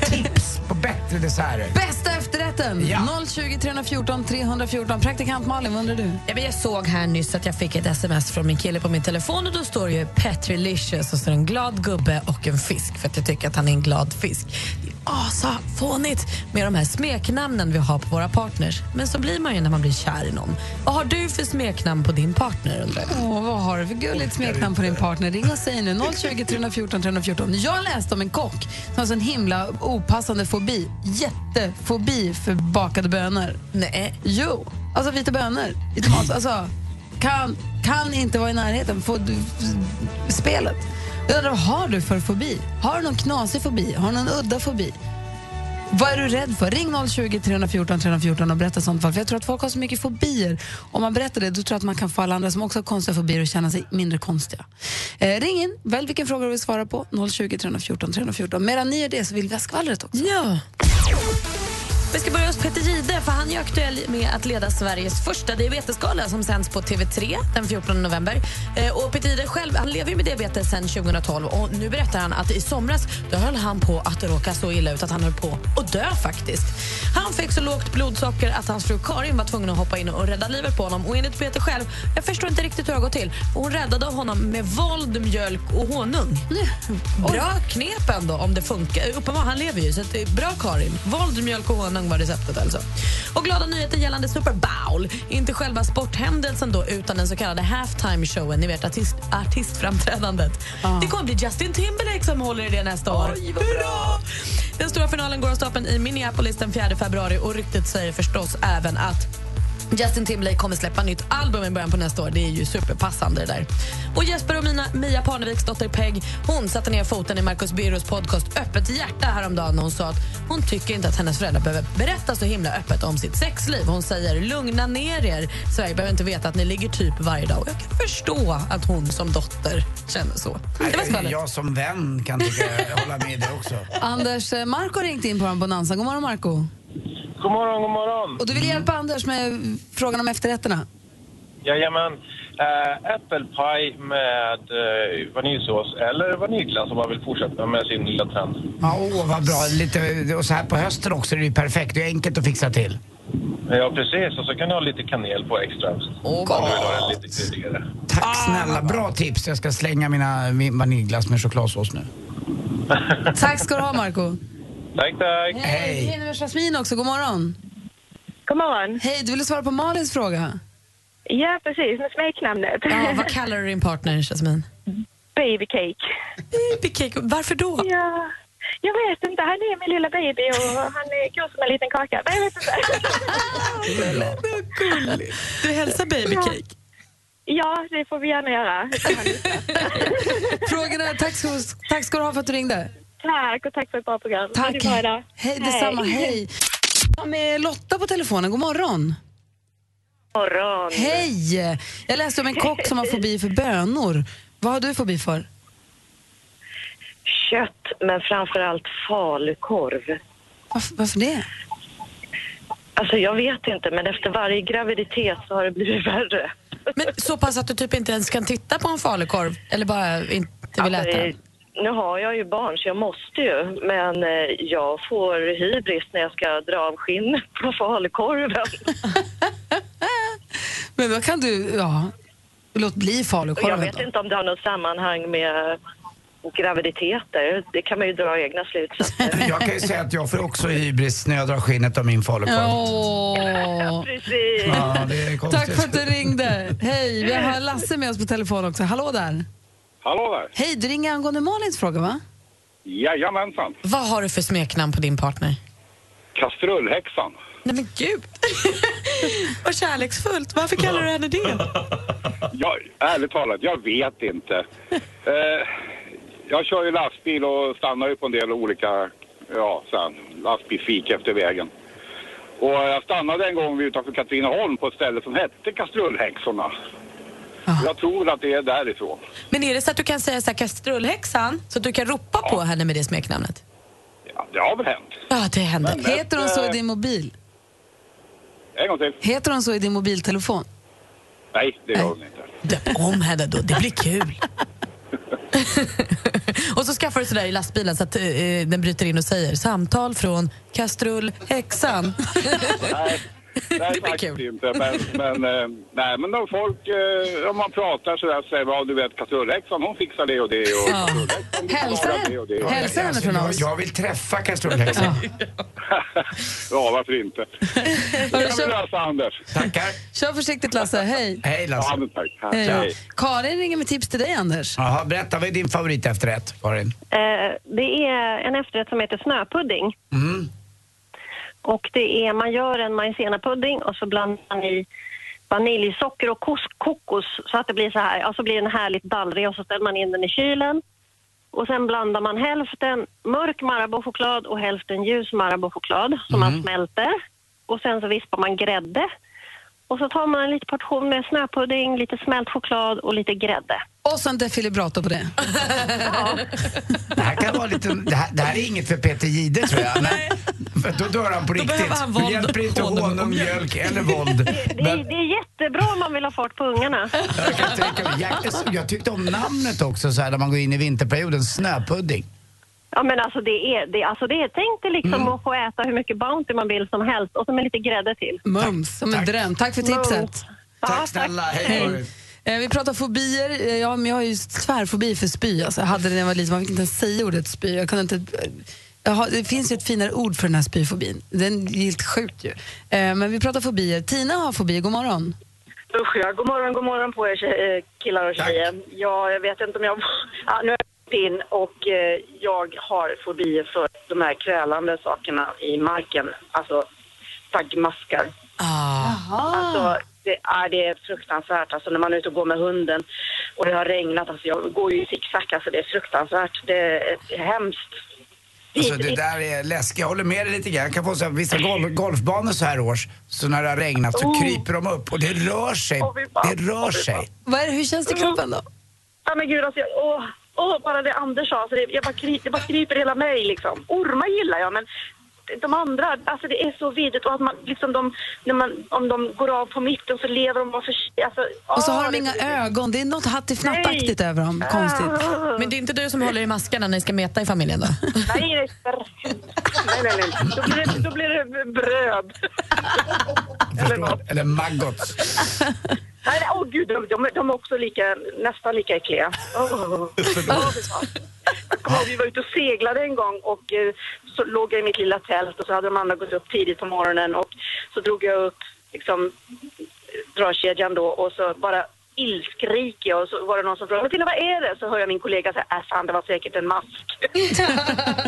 C: Tips på bättre desserter.
B: Bästa efterrätten! 020 314 314. Praktikant Malin, vad undrar du?
D: Ja, men jag såg här nyss att jag fick ett sms från min kille på min telefon och då står det ju Petrilicious och så är det en glad gubbe och en fisk för att jag tycker att han är en glad fisk. Det är asa fånigt med de här smeknamnen vi har på våra partners. Men så blir man ju när man blir kär i någon. Vad har du för smeknamn på din partner? Undrar jag?
B: Åh, vad har du för gulligt smeknamn på din partner? Ring och säg nu. 020 314 314. Jag läste om en kock som har sån himla opassande fobi. Jättefobi för bakade bönor.
D: Nej.
B: Jo. Alltså vita bönor i tomat. Alltså, kan, kan inte vara i närheten. Få du, spelet. Jag undrar, vad har du för fobi? Har du någon knasig fobi? Har du någon udda fobi? Vad är du rädd för? Ring 020 314 314 och berätta sånt fall. För jag tror att folk har så mycket fobier. Om man berättar det, då tror jag att man kan få alla andra som också har konstiga fobier att känna sig mindre konstiga. Eh, ring in, välj vilken fråga du vill svara på. 020 314 314. Medan ni gör det så vill vi ha skvallret också.
D: Ja. Vi ska börja hos Peter Gide, för han är aktuell med att leda Sveriges första diabetesgala som sänds på TV3 den 14 november. Eh, och Peter Gide själv, han lever ju med diabetes sedan 2012 och nu berättar han att i somras då höll han på att råka så illa ut att han höll på att dö faktiskt. Han fick så lågt blodsocker att hans fru Karin var tvungen att hoppa in och rädda livet på honom och enligt Peter själv, jag förstår inte riktigt hur jag går till. Och hon räddade honom med våld, mjölk och honung. Bra knep ändå om det funkar. Uppenbarligen, han lever ju så att det är bra Karin. Våld, mjölk och honung var receptet alltså. Och glada nyheter gällande Super Bowl. Inte själva sporthändelsen då utan den så kallade halftime showen, ni vet artist, artistframträdandet. Det kommer bli Justin Timberlake som håller i det nästa år. Hurra! Den stora finalen går av stapeln i Minneapolis den 4 februari och ryktet säger förstås även att Justin Timberlake kommer släppa nytt album i början på nästa år. Det är ju superpassande det där. Och Jesper och mina, Mia Parneviks dotter Peg, hon satte ner foten i Marcus Birros podcast Öppet hjärta häromdagen och hon sa att hon tycker inte att hennes föräldrar behöver berätta så himla öppet om sitt sexliv. Hon säger lugna ner er, Sverige behöver inte veta att ni ligger typ varje dag. Och jag kan förstå att hon som dotter känner så. Det var skvallret.
C: Jag som vän kan tycka, hålla med dig också.
B: Anders, eh, Marco har ringt in på vår bonanza. God morgon Marco.
N: God morgon, god morgon.
B: Och du vill hjälpa Anders med eh, frågan om efterrätterna?
N: Jajamän. Äh, äppelpaj med eh, vaniljsås eller vaniljglass om man vill fortsätta med sin lilla trend.
C: Ja, åh vad bra. Lite, och så här på hösten också är det ju perfekt. Det är enkelt att fixa till.
N: Ja, precis. Och så kan du ha lite kanel på extra. Oh, om du vill ha det lite kryddigare.
B: Ah,
C: Tack snälla. Bra tips. Jag ska slänga mina, min vaniljglass med chokladsås nu.
B: Tack ska du ha Marco.
N: Tack, tack.
B: Hej! Hej, nu är Jasmin också. God morgon.
O: God morgon.
B: Hej, du ville svara på Malins fråga.
O: Ja, precis. Med smeknamnet.
D: Ja, vad kallar du din partner, Jasmine?
O: Babycake.
D: Babycake, varför då?
O: Ja, jag vet inte. Han är min lilla baby och han eh, går som en liten kaka. Nej, jag vet inte.
D: Gulligt. Du hälsar babycake.
O: Ja, det får vi gärna göra.
B: Frågorna, tack ska, tack ska du ha för att du ringde.
O: Tack och tack för ett bra program. Ha
B: Tack.
O: det bra idag.
B: Hej, detsamma. Hej. Jag har med Lotta på telefonen. God morgon.
P: morgon.
B: Hej! Jag läste om en kock som har fobi för bönor. Vad har du fobi för?
P: Kött, men framför allt falukorv.
B: Varför, varför det?
P: Alltså jag vet inte, men efter varje graviditet så har det blivit värre.
D: Men så pass att du typ inte ens kan titta på en falukorv? Eller bara inte vill äta den?
P: Eh, Nu har jag ju barn så jag måste ju, men eh, jag får hybris när jag ska dra av skinnet på falukorven.
B: Men då kan du, ja, låt bli
P: Och jag
B: falukorven
P: vet
B: då.
P: inte om det har något sammanhang med graviditeter. Det kan man ju dra egna slutsatser.
C: Jag kan ju säga att jag får också hybris när jag drar skinnet av min falukorv.
B: Åh.
P: Precis.
C: Ja, det är konstigt.
B: Tack för att du ringde. Hej, vi har Lasse med oss på telefon också. Hallå där.
Q: Hallå där!
B: Hej, du ringer angående Malins fråga va?
Q: Jajamensan!
D: Vad har du för smeknamn på din partner?
Q: Kastrullhäxan.
D: Nej men gud! Vad kärleksfullt. Varför kallar du henne det?
Q: Jag, ärligt talat, jag vet inte. Eh, jag kör ju lastbil och stannar ju på en del olika ja, så här, lastbilsfik efter vägen. Och jag stannade en gång utanför Katrineholm på ett ställe som hette Kastrullhäxorna. Jag tror att det är därifrån.
D: Men är det så att du kan säga så här, kastrullhäxan, så att du kan ropa på henne med det smeknamnet?
Q: Ja, det har väl hänt.
D: Ja, det händer.
Q: Men-
B: Heter hon så i din mobil?
Q: En gång till.
B: Heter hon så i din mobiltelefon?
Q: Nej, det gör hon inte.
D: Döp om henne då, det blir kul. och så skaffar du sådär i lastbilen så att eh, den bryter in och säger samtal från kastrullhäxan.
Q: Nej, nej faktiskt inte. Men, men, eh, nej, men om folk, eh, om man pratar så där så säger man, ja, du vet Kastrullhäxan, hon fixar det och det och
B: Ja.
Q: Kastrullhäxan
B: Hälsa
Q: klarar det och det. och det."
B: Hälsa henne från
C: jag,
B: oss.
C: jag vill träffa kastrullhäxan.
Q: Ja, varför inte? Det kan vi lösa, Anders.
C: Tackar.
B: Kör försiktigt Lasse, hej.
C: Hej Lasse.
Q: Ja, men tack.
B: Hej. Karin ringer med tips till dig Anders.
C: Jaha, berätta, vad är din favorit efterrätt, Karin?
O: Eh, det är en efterrätt som heter snöpudding.
C: Mm.
O: Och det är, man gör en majsennapudding och så blandar man i vaniljsocker och kos, kokos så att det blir så här, alltså blir den härligt dallrig och så ställer man in den i kylen. Och sen blandar man hälften mörk Marabou-choklad och hälften ljus Marabou-choklad som man smälter. Och sen så vispar man grädde. Och så tar man en liten portion med snöpudding, lite smält choklad och lite grädde.
B: Och så en defibrillator på det.
C: Det här kan vara lite, det här, det här är inget för Peter Jihde tror jag. Nej. För då dör han på riktigt.
O: behöver han
C: Då
O: våld,
C: hjälper inte
O: honung och
C: honung,
O: mjölk.
C: mjölk eller våld.
O: Det är, det är jättebra om man vill ha fart på ungarna.
C: Jag, alltså, jag tyckte om namnet också så här när man går in i vinterperioden, snöpudding.
O: Ja, men alltså det är, det, alltså det är, tänk dig liksom att få äta hur mycket Bounty man vill som helst och så med lite grädde till.
B: Mums, som en dröm. Tack för tipset.
C: Tack snälla, hej Karin.
B: Eh, Vi pratar fobier. Eh, Ja, men jag har ju tvärfobi för spy. Alltså, jag hade det när jag var liten. Man fick inte ens säga ordet spy. Jag kunde inte... eh, Jag har, det finns ju ett finare ord för den här spyfobin. Den är helt sjukt ju. Eh, Men vi pratar fobier. Tina har fobi. God morgon.
R: Usch ja, god morgon, god morgon på er tje- eh, killar och tjejer. Ja, jag vet inte om jag... Ja, nu är jag pin och eh, jag har fobier för de här krälande sakerna i marken. Alltså taggmaskar. Alltså, det är, det är fruktansvärt. Alltså när man är ute och går med hunden och det har regnat. Alltså jag går ju i zigzag, alltså det är fruktansvärt. Det är hemskt.
C: Alltså det där är läskigt, jag håller med dig lite grann. Jag kan få så här, vissa golf, golfbanor så här års, så när det har regnat så
R: Oh.
C: kryper de upp och det rör sig. Det rör sig.
B: Vad är det, hur känns det i kroppen då?
R: Mm. Ja men gud alltså, jag, åh, åh, bara det Anders sa, så det, jag bara, kry, det bara kryper hela mig liksom. Ormar gillar jag men de andra, alltså det är så vidrigt och att man liksom de, när man, om de går av på mitten så lever de bara för sig. Alltså,
B: Och så
R: åh,
B: har de
R: det-
B: inga ögon. Det är något hattifnattaktigt över dem. Konstigt.
D: Men det är inte du som håller i maskarna när ni ska meta i familjen då?
R: Nej, nej, nej, nej, nej. Då, blir det, då blir det bröd.
C: Eller maggots.
R: Nej, nej, åh gud, de, de, de är också lika, nästan lika äckliga. Åh. Åh, fy fan. Jag kommer ihåg, Vi var ute och seglade en gång och eh, så låg jag i mitt lilla tält och så hade de andra gått upp tidigt på morgonen och så drog jag upp liksom, dragkedjan då och så bara ilskriker jag och så var det någon som frågade Tina vad är det? Så hör jag min kollega säga äh fan det var säkert en mask.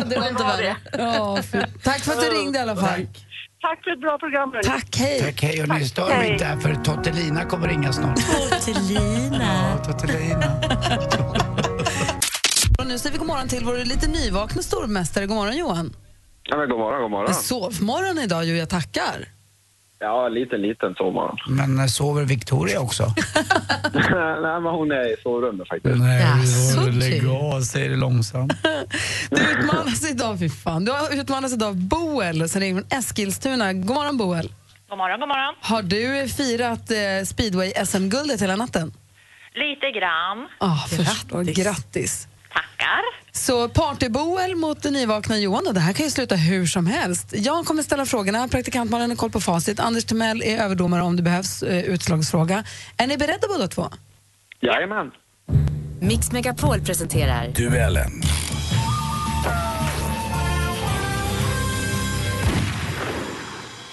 B: det var inte värre. Ja, för... Tack för att du ringde i alla fall.
R: Tack för ett bra program. hörni.
B: Tack, hej.
C: Tack, hej. Och ni stör
R: Hej.
C: mig inte här för Tottelina kommer ringa snart. Tottelina. Ja, Tottelina.
B: Och nu säger vi god morgon till vår lite nyvakna stormästare. God morgon Johan.
S: Ja, men god morgon, god morgon.
B: En sovmorgon idag ju, jag tackar.
M: Ja, en liten, liten sovmorgon.
C: Men eh, sover Victoria också?
M: Nej, men hon är i sovrummet faktiskt.
C: Jaså, Lägg av, säger det långsamt.
B: Du utmanas idag, fy fan. Du har utmanas idag av Boel som ringer från Eskilstuna. God morgon, Boel.
S: God morgon, god morgon.
B: Har du firat eh, speedway-SM-guldet hela natten?
S: Lite grann.
B: Ah, förstår. Grattis. Tackar. Så partyboel mot den nyvakna Johan och det här kan ju sluta hur som helst. Jag kommer ställa frågorna, praktikantmannen har koll på facit, Anders Timell är överdomare om det behövs, eh, utslagsfråga. Är ni beredda båda två?
M: Jajamän.
F: Mix Megapol presenterar
L: Duellen.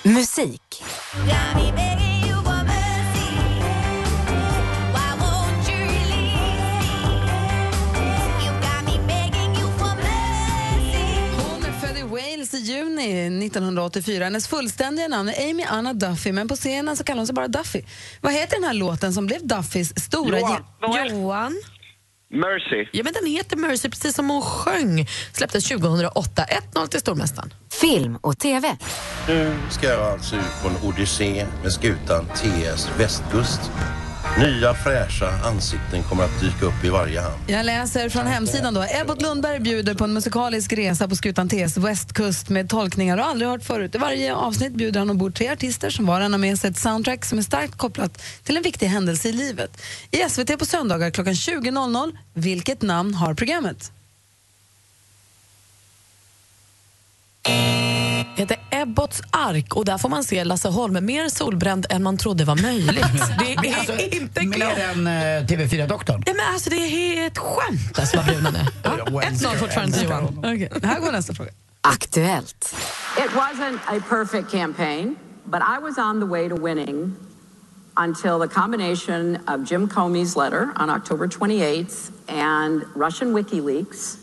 F: musik.
B: Hon är född i Wales i juni 1984. Hennes fullständiga namn är Amy Anna Duffy, men på scenen så kallar hon sig bara Duffy. Vad heter den här låten som blev Duffys stora...
D: Johan.
B: Johan.
M: Mercy.
D: Ja, men den heter Mercy, precis som hon sjöng. Släpptes 2008. 1-0 till stormästaren.
F: Film och TV.
T: Nu ska jag alltså ut på en odyssé med skutan TS Västkust. Nya fräscha ansikten kommer att dyka upp i varje hamn.
B: Jag läser från hemsidan då. Ebbot Lundberg bjuder på en musikalisk resa på skutan TS västkust med tolkningar du aldrig hört förut. I varje avsnitt bjuder han ombord tre artister som var och en har med sig ett soundtrack som är starkt kopplat till en viktig händelse i livet. I SVT på söndagar klockan 20.00. Vilket namn har programmet?
D: Det heter Ebbots ark och där får man se Lasse Holm mer solbränd än man trodde var möjligt. Det
C: Men
D: är
C: alltså,
D: inte klokt.
C: Mer än eh, TV4-doktorn.
D: Ja, men alltså, det är ett skämt alltså, vad brun han är. Ja, 1-0 fortfarande till Johan.
B: Okej, här går nästa fråga.
F: Aktuellt.
U: It wasn't a perfect campaign, but I was on the way to winning until the combination of Jim Comey's letter on October 28th and Russian WikiLeaks.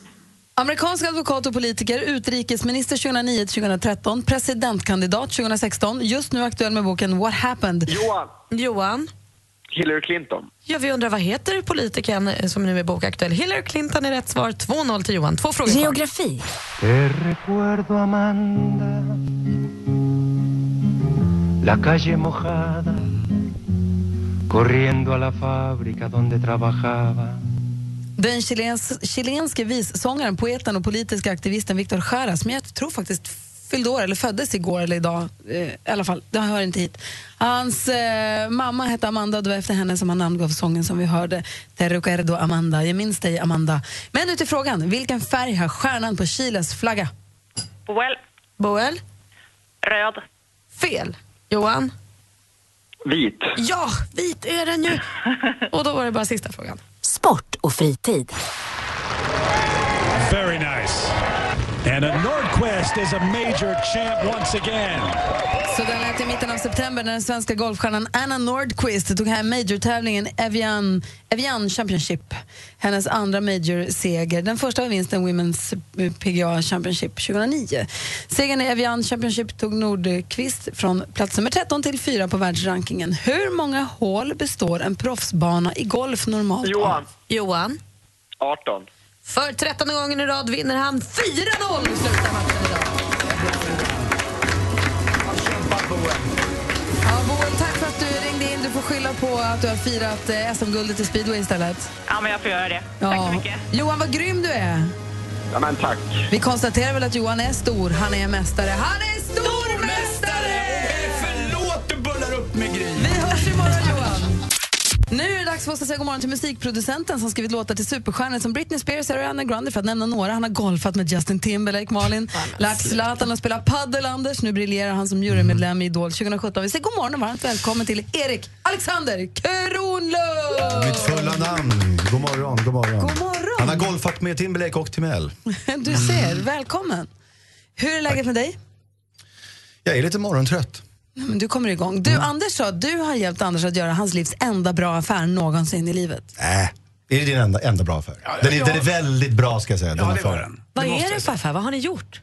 B: Amerikansk advokat och politiker, utrikesminister 2009-2013, presidentkandidat 2016, just nu aktuell med boken What happened?
M: Johan.
D: Johan.
M: Hillary Clinton.
D: Ja, vi undrar vad heter politikern eh, som nu är bokaktuell? Hillary Clinton är rätt svar. 2-0 till Johan. Två frågor kvar.
F: Geografi.
V: Te recuerdo Amanda, la calle mojada, corriendo a la fábrica donde trabajaba.
B: Den chilens, chilenske vissångaren, poeten och politiska aktivisten Victor Jara, som jag tror faktiskt fyllde år eller föddes igår eller idag, eh, i alla fall, det hör inte hit. Hans eh, mamma hette Amanda och det var efter henne som han namngav sången som vi hörde, Te recuerdo Amanda, jag minns dig Amanda. Men nu till frågan, vilken färg har stjärnan på Chiles flagga?
S: Boel,
D: Boel?
S: röd.
D: Fel. Johan?
M: Vit.
D: Ja, vit är den ju. Och då var det bara sista frågan.
F: Sport och fritid.
L: Very nice. And a Nordquist is a major champ once again.
B: Så den lät i mitten av september när den svenska golfstjärnan Anna Nordqvist tog hem majortävlingen Evian, Evian Championship. Hennes andra majorseger. Den första var vinsten Women's eh, PGA Championship 2009. Segern i Evian Championship tog Nordqvist från plats nummer 13 till 4 på världsrankingen. Hur många hål består en proffsbana i golf normalt
M: Johan.
B: av?
D: Johan?
M: 18.
D: För trettonde gången i rad vinner han 4-0 i slutet av matchen idag.
B: Ja, Boel, tack för att du ringde in. Du får skylla på att du har firat eh, SM-guldet i speedway istället.
S: Ja, men jag får göra det. Tack
B: Ja.
S: så mycket.
B: Johan, vad grym du är!
M: Ja, men tack.
B: Vi konstaterar väl att Johan är stor, han är mästare. Han är stormästare!
C: Förlåt du bullar upp med Gry.
B: Vi hörs imorgon Johan! Nu är det dags för oss att säga god morgon till musikproducenten som skrivit låtar till superstjärnor som Britney Spears och Ariana Grande för att nämna några. Han har golfat med Justin Timberlake, Malin, lärt Zlatan att spela padel, Anders. Nu briljerar han som jurymedlem i Idol 2017. Vi säger god morgon och varmt välkommen till Erik Alexander Kronlund!
W: Mitt fulla namn. God morgon, god morgon.
B: God morgon.
W: Han har golfat med Timberlake och Timell.
B: Du ser, välkommen! Hur är läget med dig?
W: Jag är lite morgontrött.
B: Nej, Men du kommer igång. Du, Anders sa att du har hjälpt Anders att göra hans livs enda bra affär någonsin i livet.
W: Äh, är det din enda, enda bra affär? den, är, den är väldigt bra ska jag säga. den
C: det var
W: affären.
D: Vad är det för affär? Vad har ni gjort?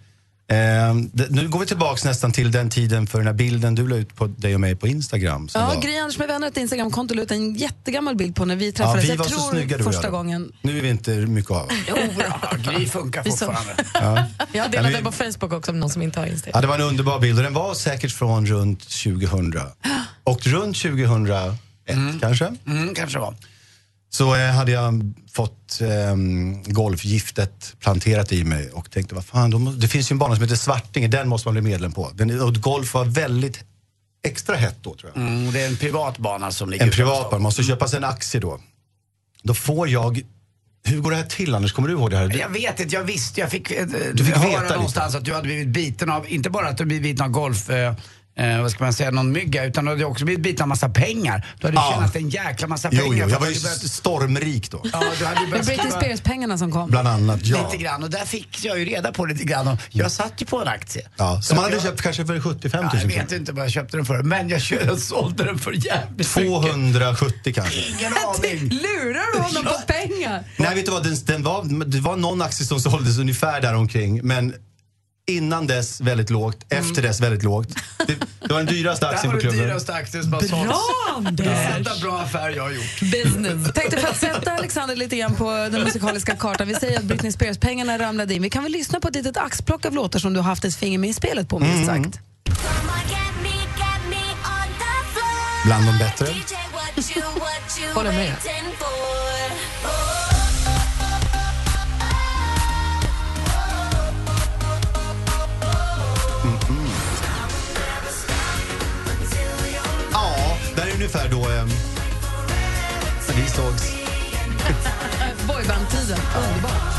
W: Eh, det, nu går vi tillbaka nästan till den tiden för den här bilden du la ut på dig och mig på Instagram. Som
B: Ja,
W: var,
B: Gry Anders med vänner, ett Instagramkonto, la ut en jättegammal bild på när vi
W: ja,
B: träffades.
W: vi var
B: jag
W: så
B: tror
W: snygga du och
B: första
W: jag.
B: gången.
W: Nu är vi inte mycket av.
C: Gry funkar
E: Vi sa-
C: fortfarande.
W: Ja.
E: Jag
W: Ja, men
E: delade den på Facebook också om någon som inte har Instagram.
W: Ja, det var en underbar bild och den var säkert från runt 2000. Och runt 2001 kanske?
C: Mm. kanske var.
W: Så eh, hade jag fått eh, golfgiftet planterat i mig och tänkte, vad fan, de, må- det finns ju en bana som heter Svartinge, den måste man bli medlem på. Den, är- och golf var väldigt extra hett då tror jag.
C: Mm, det är en privat bana som ligger
W: En
C: utanför
W: privat, man måste köpa sig en aktie då. Då får jag, hur går det här till Anders, kommer du ihåg det här?
C: Jag vet inte, jag visste, jag fick, eh,
W: Du fick veta
C: höra
W: lite.
C: någonstans att du hade blivit biten av, inte bara att du blivit biten av golf, eh, eh, vad ska man säga, någon mygga, utan du hade också blivit biten av massa pengar. Du hade
W: Ja.
C: tjänat en jäkla massa
W: Jo,
C: pengar.
W: jo,
C: för
W: jag
C: att
W: var
C: du
W: ju
C: börjat-
W: stormrik då.
C: Ja, du hade ju
B: Det var
C: börjat
B: Britney
C: skriva
B: Spears-pengarna som kom.
W: Bland annat, ja.
C: lite grann och där fick jag ju reda på lite grann. Och jag satt ju på en aktie.
W: Ja, som man hade
C: jag-
W: köpt kanske för 75
C: Ja,
W: 000
C: jag vet inte vad jag köpte den för, men jag kö- sålde den för jävligt
W: 270 kanske.
C: Ingen aning.
B: Lurar du honom på pengar?
W: Nej, vet du vad? Den, den var, det var någon aktie som såldes ungefär där omkring men innan dess väldigt lågt, efter dess väldigt lågt. Det, det var den dyraste
C: Det här
W: aktien
C: var
W: på
C: den
W: klubben.
C: dyraste aktien som har
W: Bra,
C: sålts.
B: Anders!
C: Det är enda bra affär jag har gjort.
E: Business.
B: Tänkte för att sätta Alexander lite grann på den musikaliska kartan. Vi säger att Britney Spears-pengarna ramlade in. Vi kan väl lyssna på ett litet axplock av låtar som du har haft ett finger med i spelet på, minst
W: Mm.
B: sagt.
W: Bland de bättre.
E: Håller med.
W: Ja, där är ungefär då eh, när vi sågs.
B: Eh, Boyband-tiden. Underbart.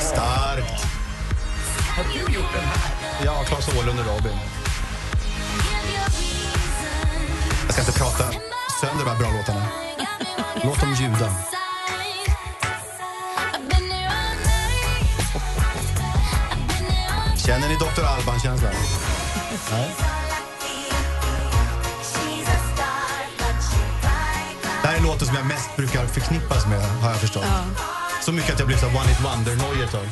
W: Starkt.
C: Har du gjort den här?
W: Ja, Claes Åhlund och Robin. Jag ska inte prata sönder de här bra låtarna. Låt dem ljuda. Känner ni Dr. Alban-känslan? Nej. Det här är låten som jag mest brukar förknippas med, har jag förstått. Så mycket att jag blev så här one-hit wonder-nojig ett tag.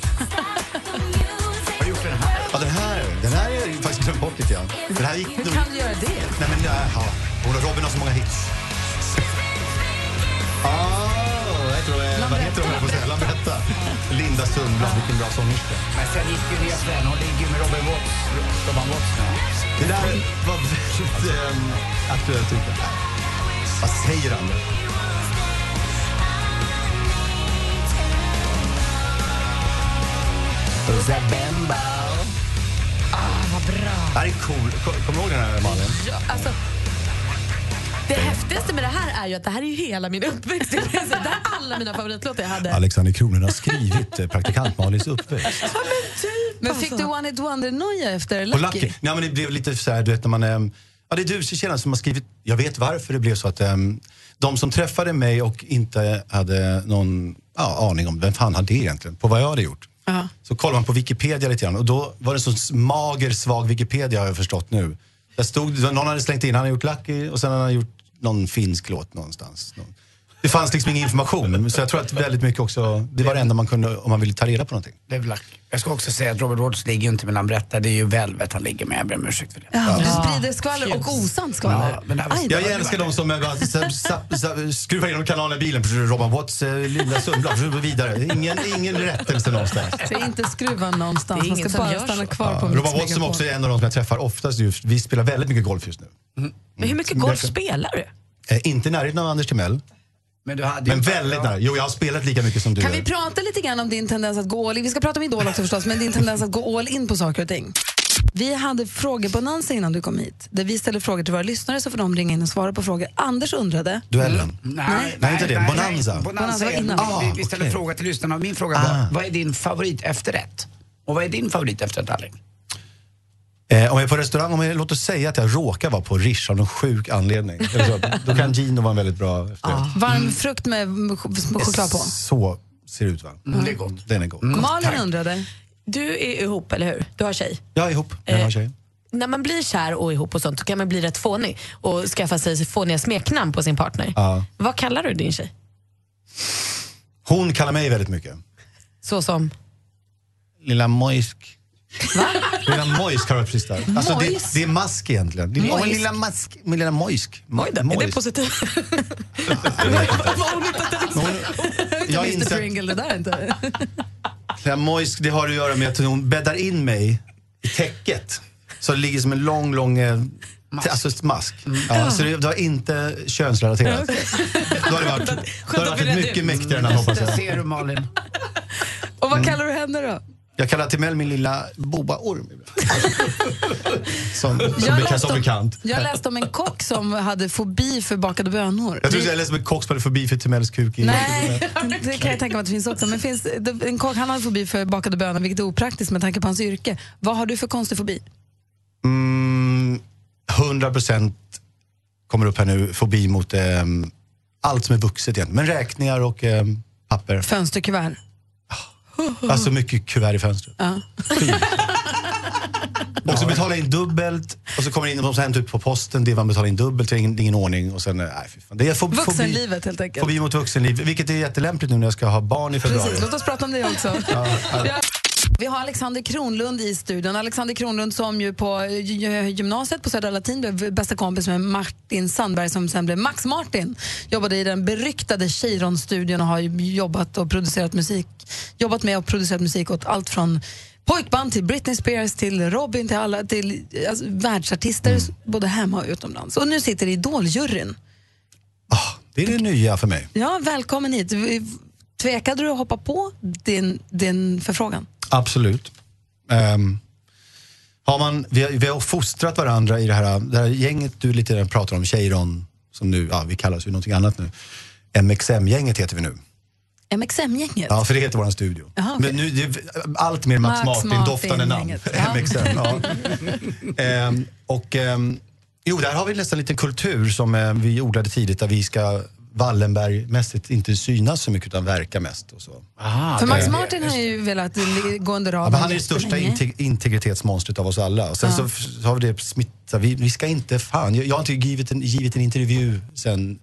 C: Har du gjort den här?
W: Ja, den här, den här är jag faktiskt glömt bort lite grann. Den här gick
B: Hur kan du göra det?
W: Nej, men ja, ja. Hon och Robin har så många hits. Oh, jag tror, eh, vad heter hon, höll jag på att säga? Lambretta. Linda Sundblad, vilken bra sångerska.
C: Men sen gick ju ner sen. Hon ligger ju med Robin Watts. Robin Watts nu.
W: Det där var väldigt um, aktuellt, tycker jag. Vad säger han? nu?
C: Zabemba.
W: Det här är cool. Kom- Kommer du ihåg den här, Malin?
D: Ja, alltså, det häftigaste med det här är ju att det här är ju hela min uppväxt. Det är så- det här är alla mina favoritlåtar jag hade.
W: Alexander Kronen har skrivit eh, praktikant Malins uppväxt.
B: Men fick du One It Wonder-noja efter
W: På
B: Lucky?
W: Lucky. Nej, men det blev lite så här, du vet när man... ehm, Ja, det är du tjejerna som har skrivit... Jag vet varför det blev så att ehm, de som träffade mig och inte hade någon ja, aning om vem fan hade det egentligen, på vad jag hade gjort.
B: Ja.
W: Så kollar man på Wikipedia lite grann och då var det en sån mager, svag Wikipedia har jag förstått nu. Där stod, någon hade slängt in, han har gjort Lucky och sen har han gjort någon finsk låt någonstans. Någon. Det fanns liksom ingen information, så jag tror att väldigt mycket också, det var det enda man kunde om man ville ta reda på någonting.
C: Det är väl lack. Jag ska också säga att Robert Watts ligger ju inte med Lambretta. Det är ju Velvet han ligger med. Jag ber om ursäkt för det.
B: Ja, du sprider skvaller och osant skvaller.
C: Ja, men det här var-
B: Aj,
C: det
B: då.
C: var-
W: Jag älskar de som eh, bara sa- sa- sa- skruvar igenom kanalen i bilen. Robban Watts, eh, Linda Sundblad, så vidare. Ingen, ingen rättelse någonstans.
B: Så inte skruva
E: Det
B: någonstans,
E: är
B: man
E: ingen
B: ska
E: som
B: bara
E: gör
B: stanna
E: så.
B: kvar på Mix
W: Robban Watts som
B: Megapol.
W: också är en av de som jag träffar oftast just. Vi spelar väldigt mycket golf just nu.
C: Mm.
E: Men hur
W: Mm.
E: mycket golf spelar du?
W: Eh, inte i närheten av Anders Timell,
C: Men du hade ju-
W: men väldigt nära. Jo, jag har spelat lika mycket som du.
B: Kan
W: gör.
B: vi prata lite grann om din tendens att gå all in? Vi ska prata om Idol också förstås, men din tendens att gå all in på saker och ting. Vi hade frågebonanza innan du kom hit, där vi ställer frågor till våra lyssnare så får de ringa in och svara på frågor. Anders undrade,
W: Duellen.
C: Mm, Nej,
W: Nej, inte det. Bonanza.
C: Bonanza
B: Bonanza var
C: är,
B: innan.
C: vi,
W: Ah,
C: vi ställer
W: okej.
C: fråga till lyssnarna och min fråga
W: Ah.
C: var, vad är din favorit efterrätt? Och vad är din favorit efterrätt, Alex?
W: Eh, om jag är på restaurang, om jag, låt oss säga att jag råkar vara på Rish av någon sjuk anledning. Eller så, då kan Gino vara en väldigt bra efterrätt.
B: varm frukt med m- ch- ch- choklad på. Mm.
W: Så ser det ut va?
C: Mm, det är gott.
W: Den är god.
B: Malin undrade,
D: Du är ihop, eller hur? Du har tjej.
W: Jag är ihop med den här tjejen.
D: När man blir kär och ihop och sånt så kan man bli rätt fånig och skaffa sig fåniga smeknamn på sin partner.
W: Ja.
D: Vad kallar du din tjej?
W: Hon kallar mig väldigt mycket.
E: Så som?
W: Lilla Mojsk. Lilla Mojsk har jag precis där. Alltså det,
E: Mojsk?
W: det är mask egentligen. Lilla,
E: Mojsk.
W: Mojsk. Lilla, mask, men lilla Mojsk. Ma-
E: Är det
W: Mojsk.
E: positivt?
W: Jag
B: Mr
W: har insett-
B: Pringle, det där inte.
W: Lilla Mojsk, det har att göra med att hon bäddar in mig i täcket. Så det ligger som en lång, lång eh, Mask. Alltså ett mask. Ja, så det, det var inte könsrelaterat. Då har det varit, då har det
B: att vi redde
W: varit mycket
B: ut.
W: mäktigare än han hoppas
C: Där
W: jag.
C: ser du Malin.
B: Och vad kallar du henne då?
W: Jag kallar Timell min lilla bobaorm. ibland. Som, som,
B: Jag
W: bekant,
B: läste
W: som
B: om-
W: bekant.
B: Jag läste om en kock som hade fobi för bakade bönor.
W: Jag trodde jag läste om en kock som hade förbi för Timells kuk. i-
B: Mm. Nej, det kan jag tänka mig att det finns också. Men finns, det- en kock han har fobi för bakade bönor, vilket är opraktiskt med tanke på hans yrke. Vad har du för konstig fobi?
W: Mm, 100% kommer upp här nu, fobi mot ehm, allt som är vuxet egentligen. Men räkningar och ehm, papper.
B: Fönsterkuvert?
W: Alltså mycket kuvert i fönstret.
B: Ja.
W: Och så betala in dubbelt och så kommer det in och så hämtar ut på posten det man betalar in dubbelt, det är ingen, ingen ordning. Och sen, eh, nej, fy fan. Det är fo- fobi,
B: Vuxenlivet helt enkelt.
W: fobi mot vuxenliv, vilket är jättelämpligt nu när jag ska ha barn i februari.
B: Precis, låt oss prata om det också.
W: ja.
B: Vi har Alexander Kronlund i studion. Alexander Kronlund som ju på eh, gy- gymnasiet på Södra Latin blev bästa kompis med Martin Sandberg som sen blev Max Martin. Jobbade i den beryktade Chiron-studion och har ju jobbat och producerat musik. Jobbat med och producerat musik åt allt från pojkband till Britney Spears till Robin till alla till alltså, världsartister
W: Mm.
B: både hemma och utomlands. Och nu sitter i Idoljuryn.
W: Det är det nya för mig.
B: Ja, välkommen hit. Tvekade du att hoppa på din, din förfrågan?
W: Absolut. Ehm, har man, vi, har, vi har fostrat varandra i det här, det här gänget du lite grann pratar om, Cheiron, som nu, ja, vi kallas ju någonting annat nu. MXM-gänget heter vi nu.
B: MXM-gänget?
W: Ja, för det heter vår studio.
B: Jaha, okej.
W: Men nu, det, är allt mer Max,
B: Max
W: Martin-doftande namn.
B: Martin-gänget. Ja.
W: MXM, ja. Ehm, och, ehm, jo, där har vi nästan en liten kultur som eh, vi odlade tidigt där vi ska Wallenberg-mässigt inte synas så mycket utan verka mest. Och så. Eh,
B: För Max
W: det-
B: Martin har ju velat li- gå under
W: Ja,
B: radarn.
W: men han är det största
B: jättelänge.
W: integ- integritetsmonstret av oss alla. Och sen
B: Ja.
W: så f- så har vi det smittat. Vi, vi ska inte, fan, jag, jag har inte givit en, givit en intervju sen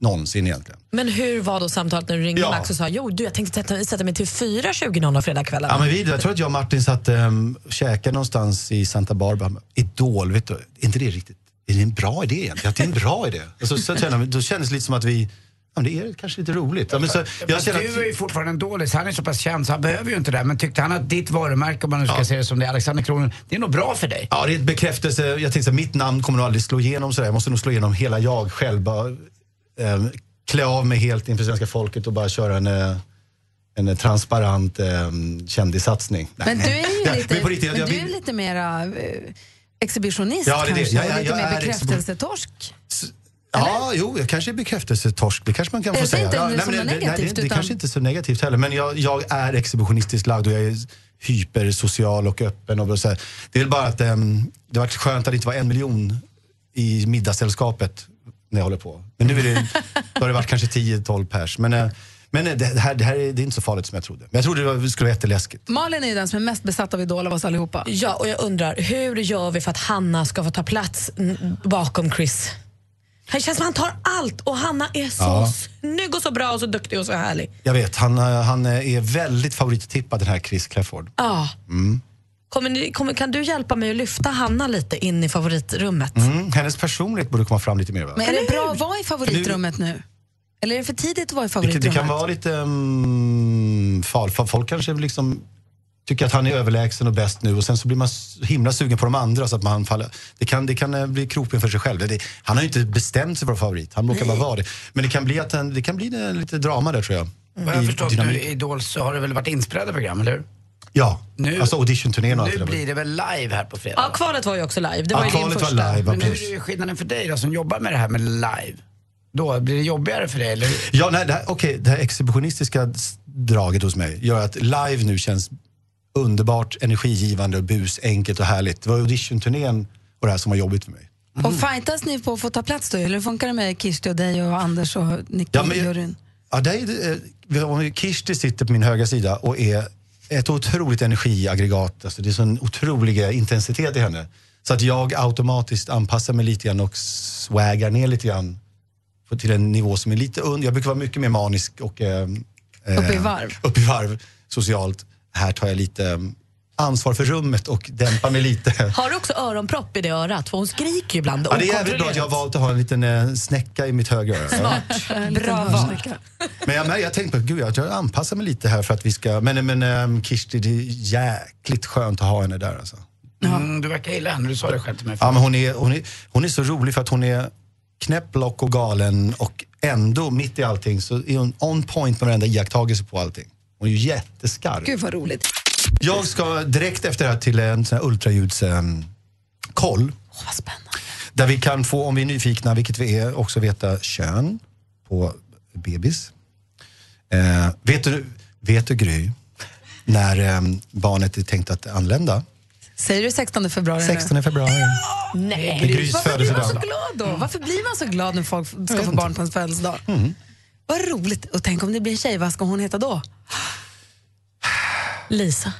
W: någonsin egentligen.
D: Men hur var då samtalet när du ringde
W: Ja.
D: Max och sa jo du jag tänkte sätta, sätta mig till 4.20 fredagskvällen?
W: Ja, men vi, jag tror att jag och Martin satt um, käkade någonstans i Santa Barbara. Idol, vet du, är inte det riktigt, är det en bra idé egentligen? Att det är en bra idé. Och så, så kände, jag- då kändes det lite som att vi, ja, men det är kanske lite roligt. Ja, men så, jag känner
C: du är
W: att,
C: ju fortfarande en dålig, han är så pass känd så han behöver ju inte det. här. Men tyckte han att ditt varumärke, om man nu ska se det som det, är, Alexander Kronlund, det är nog bra för dig.
W: ja, det är en bekräftelse. Jag tänkte så här, mitt namn kommer nog aldrig slå igenom sådär. Jag måste nog slå igenom hela jag själv. Bara, eh, klä av mig helt inför svenska folket och bara köra en, eh, en eh, transparent eh, kändissatsning. Nej,
B: Men du
W: nej.
B: är
W: Ja,
B: ju lite,
W: men på riktigt,
B: men
W: jag
B: du
W: vill-
B: är lite mera eh, exhibitionist
W: Ja, det är det.
B: kanske.
W: Ja, ja,
B: och lite
W: jag
B: mer
W: är
B: bekräftelsetorsk.
W: Ja, jo, jag kanske är bekräftelsetorsk. Det kanske man kan
B: Jag
W: få
B: säger
W: säga.
B: inte
W: ja,
B: det som något
W: men det, det,
B: negativt,
W: det,
B: utan-
W: kanske inte är så negativt heller. Men jag, jag är exhibitionistiskt lagd och jag är hypersocial och öppen. Och så här. Det är väl bara att ehm, det har varit skönt att det inte var en miljon i middagssällskapet när jag håller på. Men nu är det, då har det varit kanske 10-12 pers. Men, eh, men eh, det här, det här är, det är inte så farligt som jag trodde. Men jag trodde det var- skulle vara jätteläskigt.
B: Malin är ju den som är mest besatt av Idol av oss allihopa.
D: Ja, och jag undrar, hur gör vi för att Hanna ska få ta plats mm, bakom Chris? Det känns som att han tar allt och Hanna är så
W: Ja.
D: snygg och så bra och så duktig och så härlig.
W: Jag vet, han, eh, han är väldigt favorittippad den här Chris Clafford.
D: Ja.
W: Mm.
D: Kommer ni, kommer, kan du hjälpa mig att lyfta Hanna lite in i favoritrummet?
W: Mm. Hennes personlighet borde komma fram lite mer va?
B: Men är det bra att vara i favoritrummet nu? Eller är det för tidigt att vara i
W: Det, kan-
B: favoritrummet?
W: det kan vara lite um, farligt, för folk kanske liksom tycker att han är överlägsen och bäst nu och sen så blir man så himla sugen på de andra så att man faller. Det kan, det kan eh, bli kroppen för sig själv. Det, det, han har ju inte bestämt sig för favorit, han råkar bara vara det. Men det kan bli, att han, det kan bli eh, lite drama där tror jag.
C: Vad Mm. jag har
W: I
C: förstått nu
W: dynamik.
C: i Idol så har det väl varit inspelade program, eller hur?
W: Ja,
C: Nu-
W: alltså auditionturnén och allt
C: Nu
W: det där.
C: blir det väl live här på fredag?
D: Ja, kvalet var ju också live. Det
W: Ja,
D: var ju din
W: kvalet var
D: första.
W: live, ja,
C: Men nu är det
W: precis.
C: ju skillnaden för dig då, som jobbar med det här med live. Då blir det jobbigare för dig, eller hur?
W: Ja, nej, det här, okej, det här exhibitionistiska s- draget hos mig gör att live nu känns underbart, energigivande och bus, enkelt och härligt. Det var auditionturnén och det här som var jobbigt för mig.
C: Mm.
B: Och
W: Mm.
B: fightas ni på att få ta plats då? Eller hur funkar det med Kirsti och dig och Anders och Nicky
W: Ja,
B: och
W: men-
B: juryn?
W: Ja, där är det, eh, vi har- om Kirsti sitter på min högra sida och är ett otroligt energiaggregat. Alltså det är sån otrolig eh, intensitet i henne. Så att jag automatiskt anpassar mig lite grann och swaggar ner lite grann på- till en nivå som är lite under. Jag brukar vara mycket mer manisk och eh, Upp i varv. Upp i varv, socialt. Här tar jag lite eh, ansvar för rummet och dämpar mig lite.
D: Har du också öronpropp i det örat? För hon skriker ju ibland
W: Ja, det är jävligt bra att jag har valt att ha en liten eh, snäcka i mitt högra öra. Ja.
D: Smart. Bra val.
W: Men jag, men jag tänkte på, gud jag, jag anpassar mig lite här för att vi ska, men, men ehm, Kirsti det är jäkligt skönt att ha henne där alltså.
C: Mm, du verkar gilla henne, du sa det själv till mig.
W: Ja, men hon, är, hon, är, hon är så rolig för att hon är knäpp, lock och galen och ändå mitt i allting så är hon on point med varenda iakttagelse på allting. Hon är ju jätteskarp.
B: Gud vad roligt.
W: Jag ska direkt efter det här till en sån här ultraljudskoll.
B: vad spännande.
W: Där vi kan få, om vi är nyfikna, vilket vi är, också veta kön på bebis. Eh, vet, du, vet du Gry, när eh, barnet är tänkt att anlända?
B: Säger du 16 februari? nu?
W: 16 februari.
B: Nej.
W: Det är Grys
B: Varför blir man så
W: födelsedag.
B: glad då? Varför blir man så glad när folk ska få barn på ens födelsedag?
W: Mm.
B: Vad roligt. Och tänk om det blir en tjej, vad ska hon heta då? Lisa.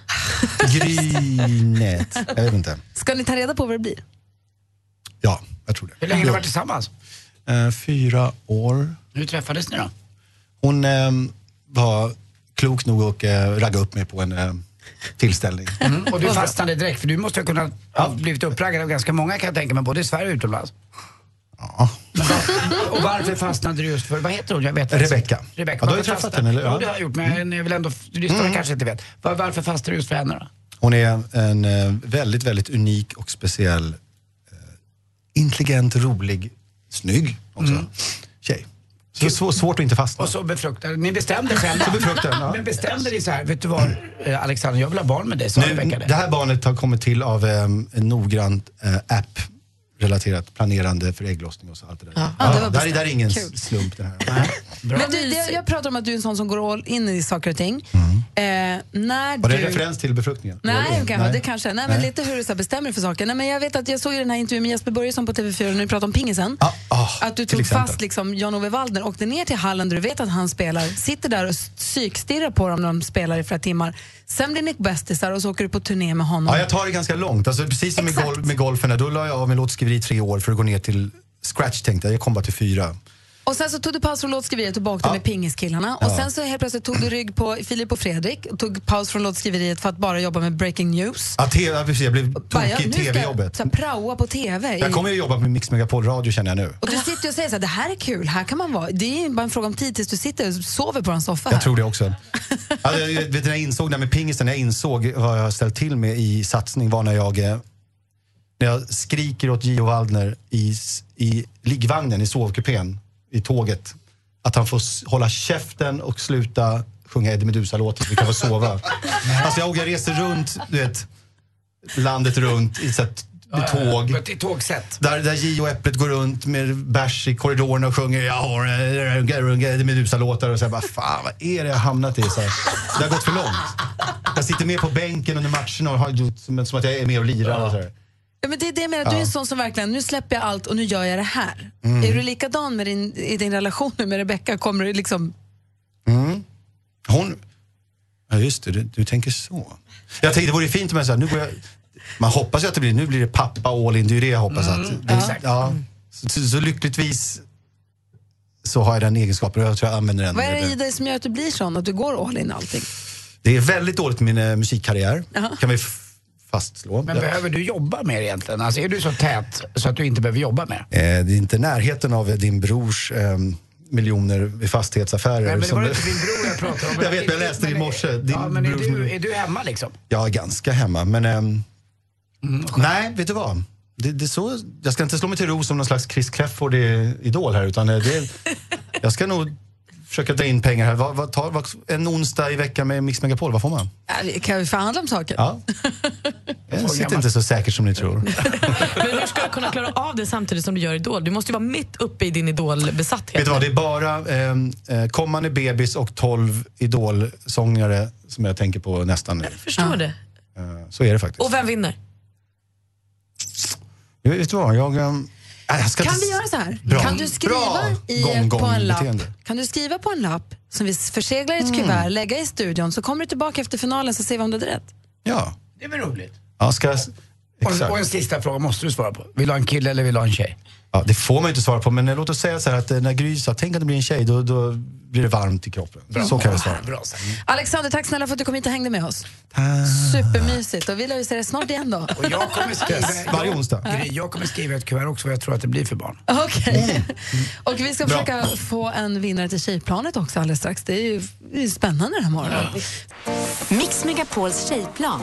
W: Grynet. Jag vet inte.
B: Ska ni ta reda på vad det blir?
W: Ja, jag tror det.
C: Hur länge har ni varit tillsammans?
W: Eh, fyra år.
C: Hur träffades ni då?
W: Hon eh, var klok nog att eh, ragga upp mig på en eh, tillställning.
C: Och du fastnade direkt, för du måste ha kunnat ha blivit uppraggad av ganska många kan jag tänka mig, både i Sverige och utomlands. Ja. och varför fastnade du just för, vad heter hon? Jag vet inte.
W: Rebecka.
C: Rebecka.
W: Ja, du har ju
C: varför
W: träffat
C: fastnade-
W: henne, eller?
C: Ja,
W: Ja. Mm.
C: det har jag gjort, men jag vill ändå, lyssnarna kanske inte vet. Var, varför fastnade du just för henne då?
W: Hon är en eh, väldigt, väldigt unik och speciell, eh, intelligent, rolig, snygg också tjej. Så det är så svårt att inte fastna.
C: Mm. Och så befruktade, ni bestämde själva.
W: Så befruktade, ja.
C: Men bestämde ni så här, vet du vad eh, Alexander, jag vill ha barn
B: Eh,
C: med dig, sa
W: Nu,
C: Rebecka det.
W: det här barnet har kommit till av eh, en noggrant eh, app relaterat planerande för ägglossning och så allt det där.
B: Ja. Ja, det var
W: där, är- där är
B: bestämt.
W: ingen
B: Kul.
W: slump det här.
B: Men du, det, jag pratar om att du är en sån som går all in i saker och ting. Eh, när
W: Mm. Var det
B: du...
W: en referens till befruktningen?
B: Nej, okay,
W: Nej.
B: det kanske. Nej, men
W: Nej.
B: lite hur du så här bestämmer dig för saker. Nej, men jag vet att jag såg ju den här intervjun med Jesper Börjesson på TV4 när du pratade om pingisen. att du
W: Ah, till
B: tog
W: exempel.
B: fast liksom Jan-Ove Waldner, åkte ner till hallen där du vet att han spelar, sitter där och psykstirrar på dem när de spelar i flera timmar. Sen blir ni bästisar och så åker du på turné med honom.
W: Ja, jag tar det ganska långt. Alltså, precis som med, gol- med golfen, där, då la jag av med låtskriveri i tre år för att gå ner till scratch tänkte jag. Jag kom bara till fyra.
B: Och sen så tog du paus från låtskriveriet och bakte med pingiskillarna. Och
W: Ja.
B: sen så helt plötsligt tog du rygg på Filip och Fredrik och tog paus från låtskriveriet för att bara jobba med breaking news.
W: Ja, te- ja, precis, jag blev
B: Bara, ja,
W: tokig i
B: nu ska jag
W: tv-jobbet.
B: så här praoa på tv.
W: Jag
B: i-
W: kommer ju jobba med Mix Megapol radio känner jag nu.
B: Och du sitter ju och säger så här, det här är kul, här kan man vara. Det är ju bara en fråga om tid tills du sitter och sover på en soffa här.
W: Jag tror det också. Alltså, jag, vet, du, när jag insåg det här med pingisen, när jag insåg vad jag har ställt till med i satsning var när jag, eh, när jag skriker åt Gio Waldner i, s- i liggvagnen, i sovkupén, i tåget. Att han får s- hålla käften och sluta sjunga Eddie Meduza-låten så vi kan få sova. Alltså jag, jag reser runt, du vet, landet runt i så här, t- med tåg.
C: I tågsätt.
W: Där, där Gio och Äpplet går runt med bärs i korridorerna och sjunger jag har en Medusa-låtar och så här, bara fan vad är det jag har hamnat i? Så här, det har gått för långt. Jag sitter med på bänken under matcherna och har gjort som, som att jag är med och lirar och så här.
B: Ja, men det är det jag menar, du är en
W: Ja.
B: sån som verkligen, nu släpper jag allt och nu gör jag det här.
W: Mm.
B: Är du likadan med din, i din relation nu med Rebecca? Kommer du liksom...
W: Mm. Hon, ja just det, du, du tänker så. Jag tänkte det vore fint om jag sa, nu går jag, man hoppas ju att det blir, nu blir det pappa all in, det är ju det jag hoppas
C: Mm,
W: att. Det,
C: exakt.
W: ja. så, så, så lyckligtvis så har jag den egenskapen och jag tror jag använder den.
B: Vad är det i dig som gör att du blir sån, att du går all in i allting?
W: Det är väldigt dåligt med min eh, musikkarriär, kan vi f- fastslå.
C: Men
W: Ja.
C: behöver du jobba mer egentligen? Alltså är du så tät så att du inte behöver jobba mer?
W: Eh, det är inte närheten av eh, din brors eh, miljoner i fastighetsaffärer.
C: Nej, men det
W: som-
C: var inte din bror jag pratade om.
W: Jag vet, men jag läste det i morse. Din
C: Ja, men är
W: brors
C: du,
W: miljon-
C: är du hemma liksom?
W: Jag är ganska hemma, men... ehm,
C: Mm,
W: nej, vet du vad? Det, det är så, jag ska inte slå mig till ro som någon slags Chris Clafford i Idol här, utan eh, det, jag ska nog försöka dra in pengar här. Vad, vad tar, vad, en onsdag i veckan med Mix Megapol, vad får man?
B: Ja, det- Kan vi förhandla om saker?
W: Ja. Jag sitter inte så säkert som ni tror.
E: Men hur ska du kunna klara av det samtidigt som du gör Idol? Du måste ju vara mitt uppe i din Idol-besatthet.
W: Vet du vad, det är bara ehm, eh, kommande bebis och 12 idolsångare som jag tänker på nästan nu.
E: Förstår det.
W: Eh, Så är det faktiskt.
E: Och vem vinner?
W: Vet du vad, jag... ehm, nej, jag ska
B: Kan
W: inte...
B: vi göra så här?
W: Bra.
B: Kan du skriva
W: Bra
B: i, på en lapp?
W: gong-gong-beteende.
B: Kan du skriva på en lapp som vi förseglar i ett
W: Mm.
B: kuvert, lägga i studion, så kommer du tillbaka efter finalen så ser vi om du hade rätt.
W: Ja.
C: Det är väl roligt?
W: ja ska jag...
C: Och, och en sista fråga måste du svara på. Vill du ha en kille eller vill du ha en tjej?
W: Ja, det får man ju inte svara på, men eh, låt oss säga så här att eh, när Gry sa tänk att det blir en tjej, då, då blir det varmt i kroppen. Så kan jag svara.
C: Bra,
B: Alexander, tack snälla för att du kom hit och hängde med oss. Supermysigt. Och vi lär ju se dig snart igen då.
C: Och jag kommer skriva,
W: varje onsdag.
C: Gry, jag kommer skriva ett kuvert också vad jag tror att det blir för barn.
B: Okej.
F: Mm.
B: Och vi ska
C: Bra.
B: försöka få en vinnare till tjejplanet också alldeles strax. Det är ju det är ju spännande den här morgonen.
F: Mix Megapols tjejplan.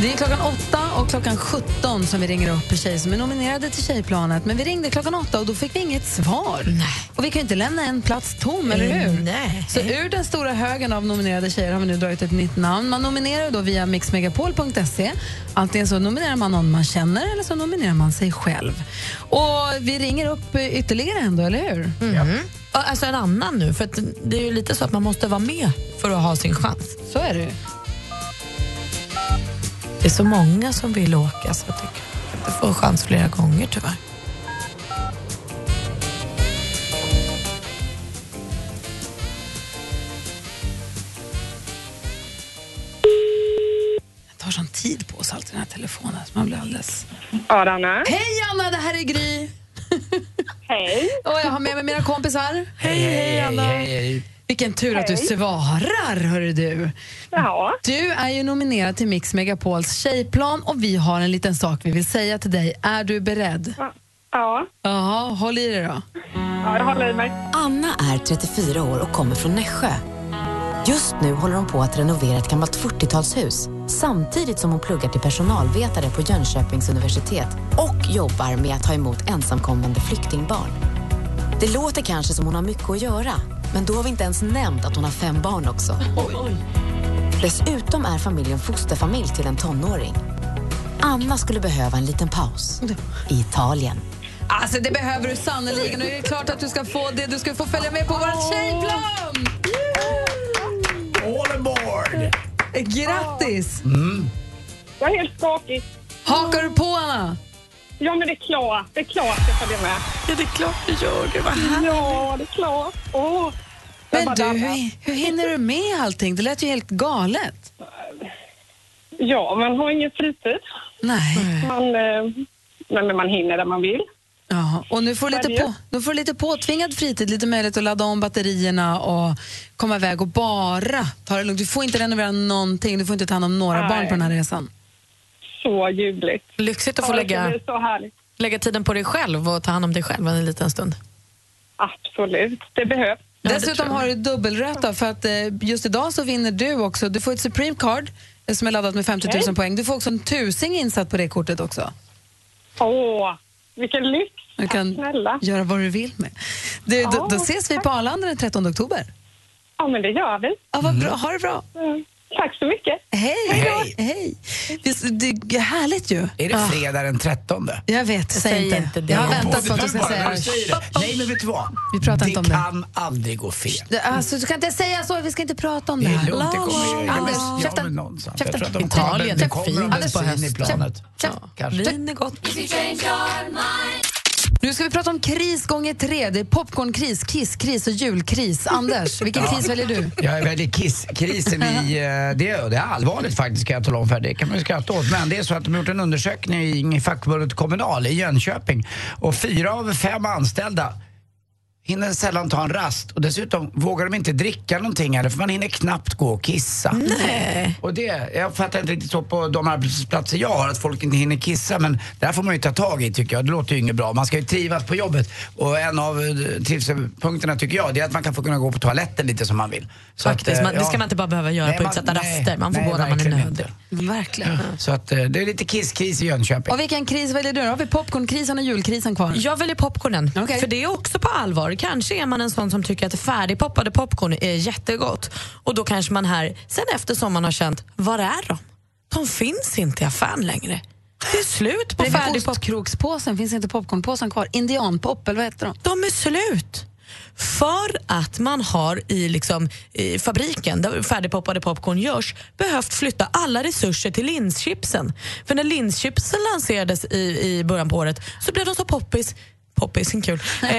B: Det är klockan 8 och klockan 17 som vi ringer upp tjejer som är nominerade till Tjejplanet. Men vi ringde klockan 8 och då fick vi inget svar. Och vi kan ju inte lämna en plats tom, eller
D: Eh,
B: hur?
D: nej.
B: Så ur den stora högen av nominerade tjejer har vi nu dragit ett nytt namn. Man nominerar då via mixmegapol.se. Antingen så nominerar man någon man känner eller så nominerar man sig själv. Och vi ringer upp eh, ytterligare en då, eller hur?
D: Alltså en annan nu, för att det är ju lite så att man måste vara med för att ha sin chans.
B: Så är det ju.
D: Det är så många som vill åka så jag tycker att du får chans flera gånger tyvärr.
B: Det tar sån tid på oss alltid den här telefonen så man blir alldeles...
A: Ja, Anna.
B: Hej Anna, det här är Gry.
A: Hej.
B: Och jag har med mig mina kompisar. Hej, hej Anna. Vilken tur att du
A: Hej.
B: svarar, hörru du.
A: Ja.
B: Du är ju nominerad till Mix Megapols tjejplan och vi har en liten sak vi vill säga till dig. Är du beredd?
A: Ja.
B: Jaha, håll i dig då.
A: Ja, jag håller i mig.
F: Anna är 34 år och kommer från Nässjö. Just nu håller hon på att renovera ett gammalt 40-talshus samtidigt som hon pluggar till personalvetare på Jönköpings universitet och jobbar med att ta emot ensamkommande flyktingbarn. Det låter kanske som hon har mycket att göra, men då har vi inte ens nämnt att hon har fem barn också. Dessutom är familjen fosterfamilj till en tonåring. Anna skulle behöva en liten paus i Italien.
B: Alltså det behöver du sannerligen och det är klart att du ska få det. Du ska få följa med på vårt tjejplan!
C: All aboard!
B: Grattis!
A: Jag är helt skakig.
B: Mm. Hakar du på, Anna?
A: Ja, men det är klart. Det är klart jag följer med.
D: Ja, det är klart du gör. Gud, vad härligt.
A: Ja, det är klart. Åh. Jag
B: Men
A: bara
B: du,
A: darrar.
B: hur, hur hinner du med allting? Det lät ju helt galet.
A: Ja, man har ingen fritid.
B: Nej.
A: Man, eh, nej, men man hinner där man vill.
B: Ja, och nu får, du lite
A: Sverige.
B: på, nu får du lite påtvingad fritid, lite möjlighet att ladda om batterierna och komma iväg och bara ta det lugnt. Du får inte renovera någonting, du får inte ta hand om några
A: Nej.
B: barn på den här resan.
A: Så ljuvligt.
D: Lyxigt att få
A: Ja,
D: lägga,
A: Det blir så härligt.
D: lägga tiden på dig själv och ta hand om dig själv en liten stund.
A: Absolut. Det behövs.
B: Dessutom har du dubbelröta för att eh, just idag så vinner du också. Du får ett Supreme Card eh, som är laddat med 50 000
A: Okej.
B: poäng. Du får också en tusing insatt på det kortet också.
A: Åh, vilken lyx.
B: Du kan
A: Snälla.
B: göra vad du vill med. Du, då, då ses vi på Arlanda den 13 oktober.
A: Ja, men det gör vi.
B: Ja, vad bra. Ha det bra.
A: Mm. Tack så mycket.
B: Hej! Hej! Hej. Visst, Det är härligt ju.
C: Är det
B: Ja.
C: fredag den 13?
B: Jag vet, säg,
D: Säg
B: inte.
D: inte det.
B: Jag har
C: Kom
B: väntat
C: det
B: på att
C: nu
B: du ska
C: bara, när
B: säga
C: du
B: det.
C: säger det. Nej, men vet du vad?
B: Vi pratar inte om det.
C: Det kan aldrig gå fel.
B: Det- Alltså, du kan inte säga så, vi ska inte prata om det
C: Det
B: här.
C: är lugnt, det kommer ju...
B: Anders,
C: Ja, men- Ja, men någonstans. Jag
B: käften.
C: tror att de kommer,
B: Italien
C: det
B: är
C: kommer
B: fint
C: en
B: på
C: bensin i
B: hösten.
C: planet. Kanske.
D: Vin är gott.
B: Nu ska vi prata om kris gånger tre. Det är popcornkris, kisskris och julkris. Anders, vilken
C: Ja.
B: kris väljer du?
C: Jag väljer kisskrisen i... eh, Det är, det är allvarligt faktiskt kan jag tala om för dig. Det kan man ju skratta åt. Men det är så att de har gjort en undersökning i fackförbundet Kommunal i Jönköping. Och fyra av fem anställda hinner sällan ta en rast. Och dessutom vågar de inte dricka någonting heller för man hinner knappt gå och kissa. Nej. Och det, jag fattar inte riktigt så på de arbetsplatser jag har att folk inte hinner kissa. Men det här får man ju ta tag i tycker jag. Det låter ju inget bra. Man ska ju trivas på jobbet. Och en av eh, trivselpunkterna tycker jag det är att man kan få kunna gå på toaletten lite som man vill. Så att,
D: Faktiskt,
C: eh,
D: man, det ska
C: ja.
D: man inte bara behöva göra
C: Nej,
D: på
C: man-
D: utsatta
C: nej,
D: raster. Man får
C: nej,
D: gå när man är
C: verkligen
D: nödig.
B: Verkligen.
C: Så att eh, det är lite kisskris i Jönköping.
B: Och vilken kris väljer du? Då har vi popcornkrisen och julkrisen kvar.
D: Jag väljer popcornen, för det är också på allvar. Kanske är man en sån som tycker att färdigpoppade popcorn är jättegott och då kanske man här, sen efter som man har känt, var är de? De finns inte i affären längre. Det är slut på
B: Bredvid
D: färdigpop.
B: ostkrokspåsen finns inte popcornpåsen kvar. Indianpop, eller vad heter de?
D: De är slut. För att man har i, liksom, i fabriken där färdigpoppade popcorn görs behövt flytta alla resurser till linschipsen. För när linschipsen lanserades i, i början på året så blev de så poppis Poppis, kul. Eh,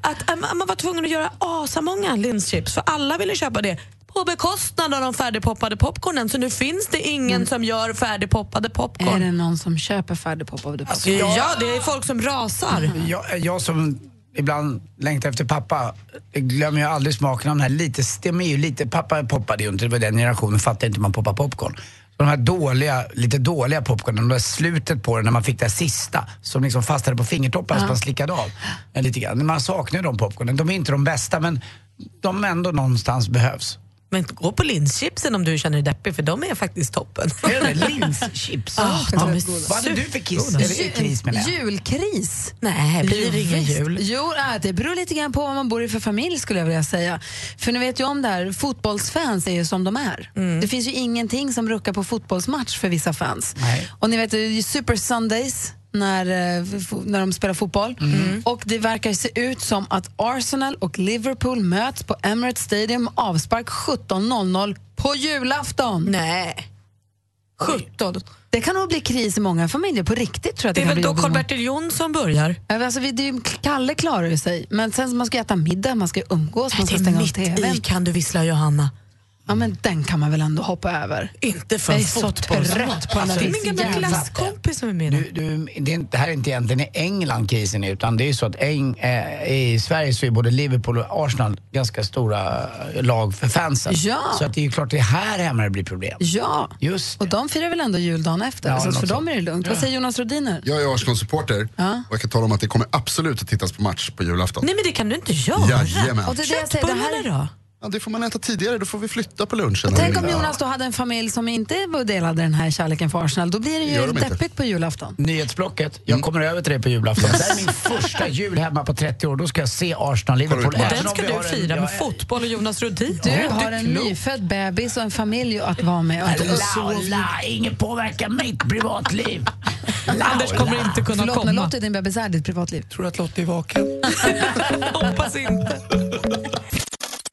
D: att eh, man man var tvungen att göra asamånga linschips för alla ville köpa det. på bekostnad av de färdigpoppade popcornen. Så nu finns det ingen
B: Mm.
D: som gör färdigpoppade popcorn.
B: Är det någon som köper färdigpoppade popcorn?
D: Alltså, ja, det är folk som rasar.
C: Jag, jag som ibland längtar efter pappa glömmer ju aldrig smaken av den här lite, de är ju lite, pappa poppade ju inte, det var den generationen, fattade inte hur man poppar popcorn. Så de här dåliga, lite dåliga popcornen, det där slutet på den när man fick det här sista som liksom fastnade på fingertopparna
B: Ja.
C: så man slickade av eh, lite grann. Man saknar ju de popcornen, de är inte de bästa men de ändå någonstans behövs.
D: Men gå på linschipsen om du känner dig deppig, för de är faktiskt toppen.
C: Linschips.
D: Ah, de är
C: Vad hade du för kiss? Eller kris menar jag.
B: Julkris?
D: Nej, blir det ingen
B: Julfest.
D: jul?
B: Jo, äh, det beror lite grann på vad man bor i för familj skulle jag vilja säga. För ni vet ju om det här, fotbollsfans är ju som de är. Det finns ju ingenting som ruckar på fotbollsmatch för vissa fans. Och ni vet, det är ju Super Sundays när, eh, fo- när de spelar fotboll.
D: Mm.
B: Och det verkar se ut som att Arsenal och Liverpool möts på Emirates Stadium avspark 17.00 på julafton.
D: Nej. 17.
B: Det kan nog bli kris i många familjer på riktigt tror jag. att
D: Det är
B: kan
D: väl
B: bli
D: då
B: jobbigt i många-
D: Karl-Bertil Jonsson börjar?
B: Ja, men Alltså, vi- det är ju, Kalle klarar ju sig, men sen man ska äta middag, man ska umgås, man ska
D: Det är
B: stänga av
D: mitt i
B: tvn.
D: kan du vissla Johanna.
B: Ja, men den kan man väl ändå hoppa över?
D: Inte för
B: Jag är så
D: fotboll.
B: trött på den
D: Alltså,
B: där
D: det är min gamla
B: jävla-
D: klasskompis som är med.
C: Du, du, det, är, inte- det här är inte egentligen i England krisen är, utan det är ju så att Eng, eh, i Sverige så är både Liverpool och Arsenal ganska stora eh, lag för fansen.
B: Ja.
C: Så att det är ju klart det är här hemma det blir problem.
B: Ja,
C: Just
B: och de firar väl ändå juldagen efter,
X: Ja,
B: så för
X: något
B: dem är det lugnt. Vad säger Jonas Rodiner?
X: Jag är Arsenal-supporter
B: Ja.
X: och jag kan tala om att det kommer absolut att tittas på match på julafton.
D: Nej men det kan du inte göra.
X: Jajamän.
B: Och det är det jag säger, det här-
D: Köttbullarna då?
X: Ja, det får man äta tidigare, då får vi flytta på lunchen.
B: Tänk om Jonas då hade en familj som inte delade den här kärleken för Arsenal, då blir det
X: Gör
B: ju
X: de inte.
B: deppigt på julafton.
C: Nyhetsblocket, jag kommer över till dig på julafton. Det här är min första jul hemma på 30 år, då ska jag se Arsenal-Liverpool.
D: Och den ska du fira med fotboll och Jonas Rhodin.
B: Du har en nyfödd bebis och en familj att vara med. Och inte
C: Laula, ingen påverkar mitt privatliv.
D: Anders kommer inte kunna
B: Förlåt,
D: komma.
B: men Lottie, din bebis är ditt privatliv.
C: Tror du att Lottie är vaken?
D: Hoppas inte.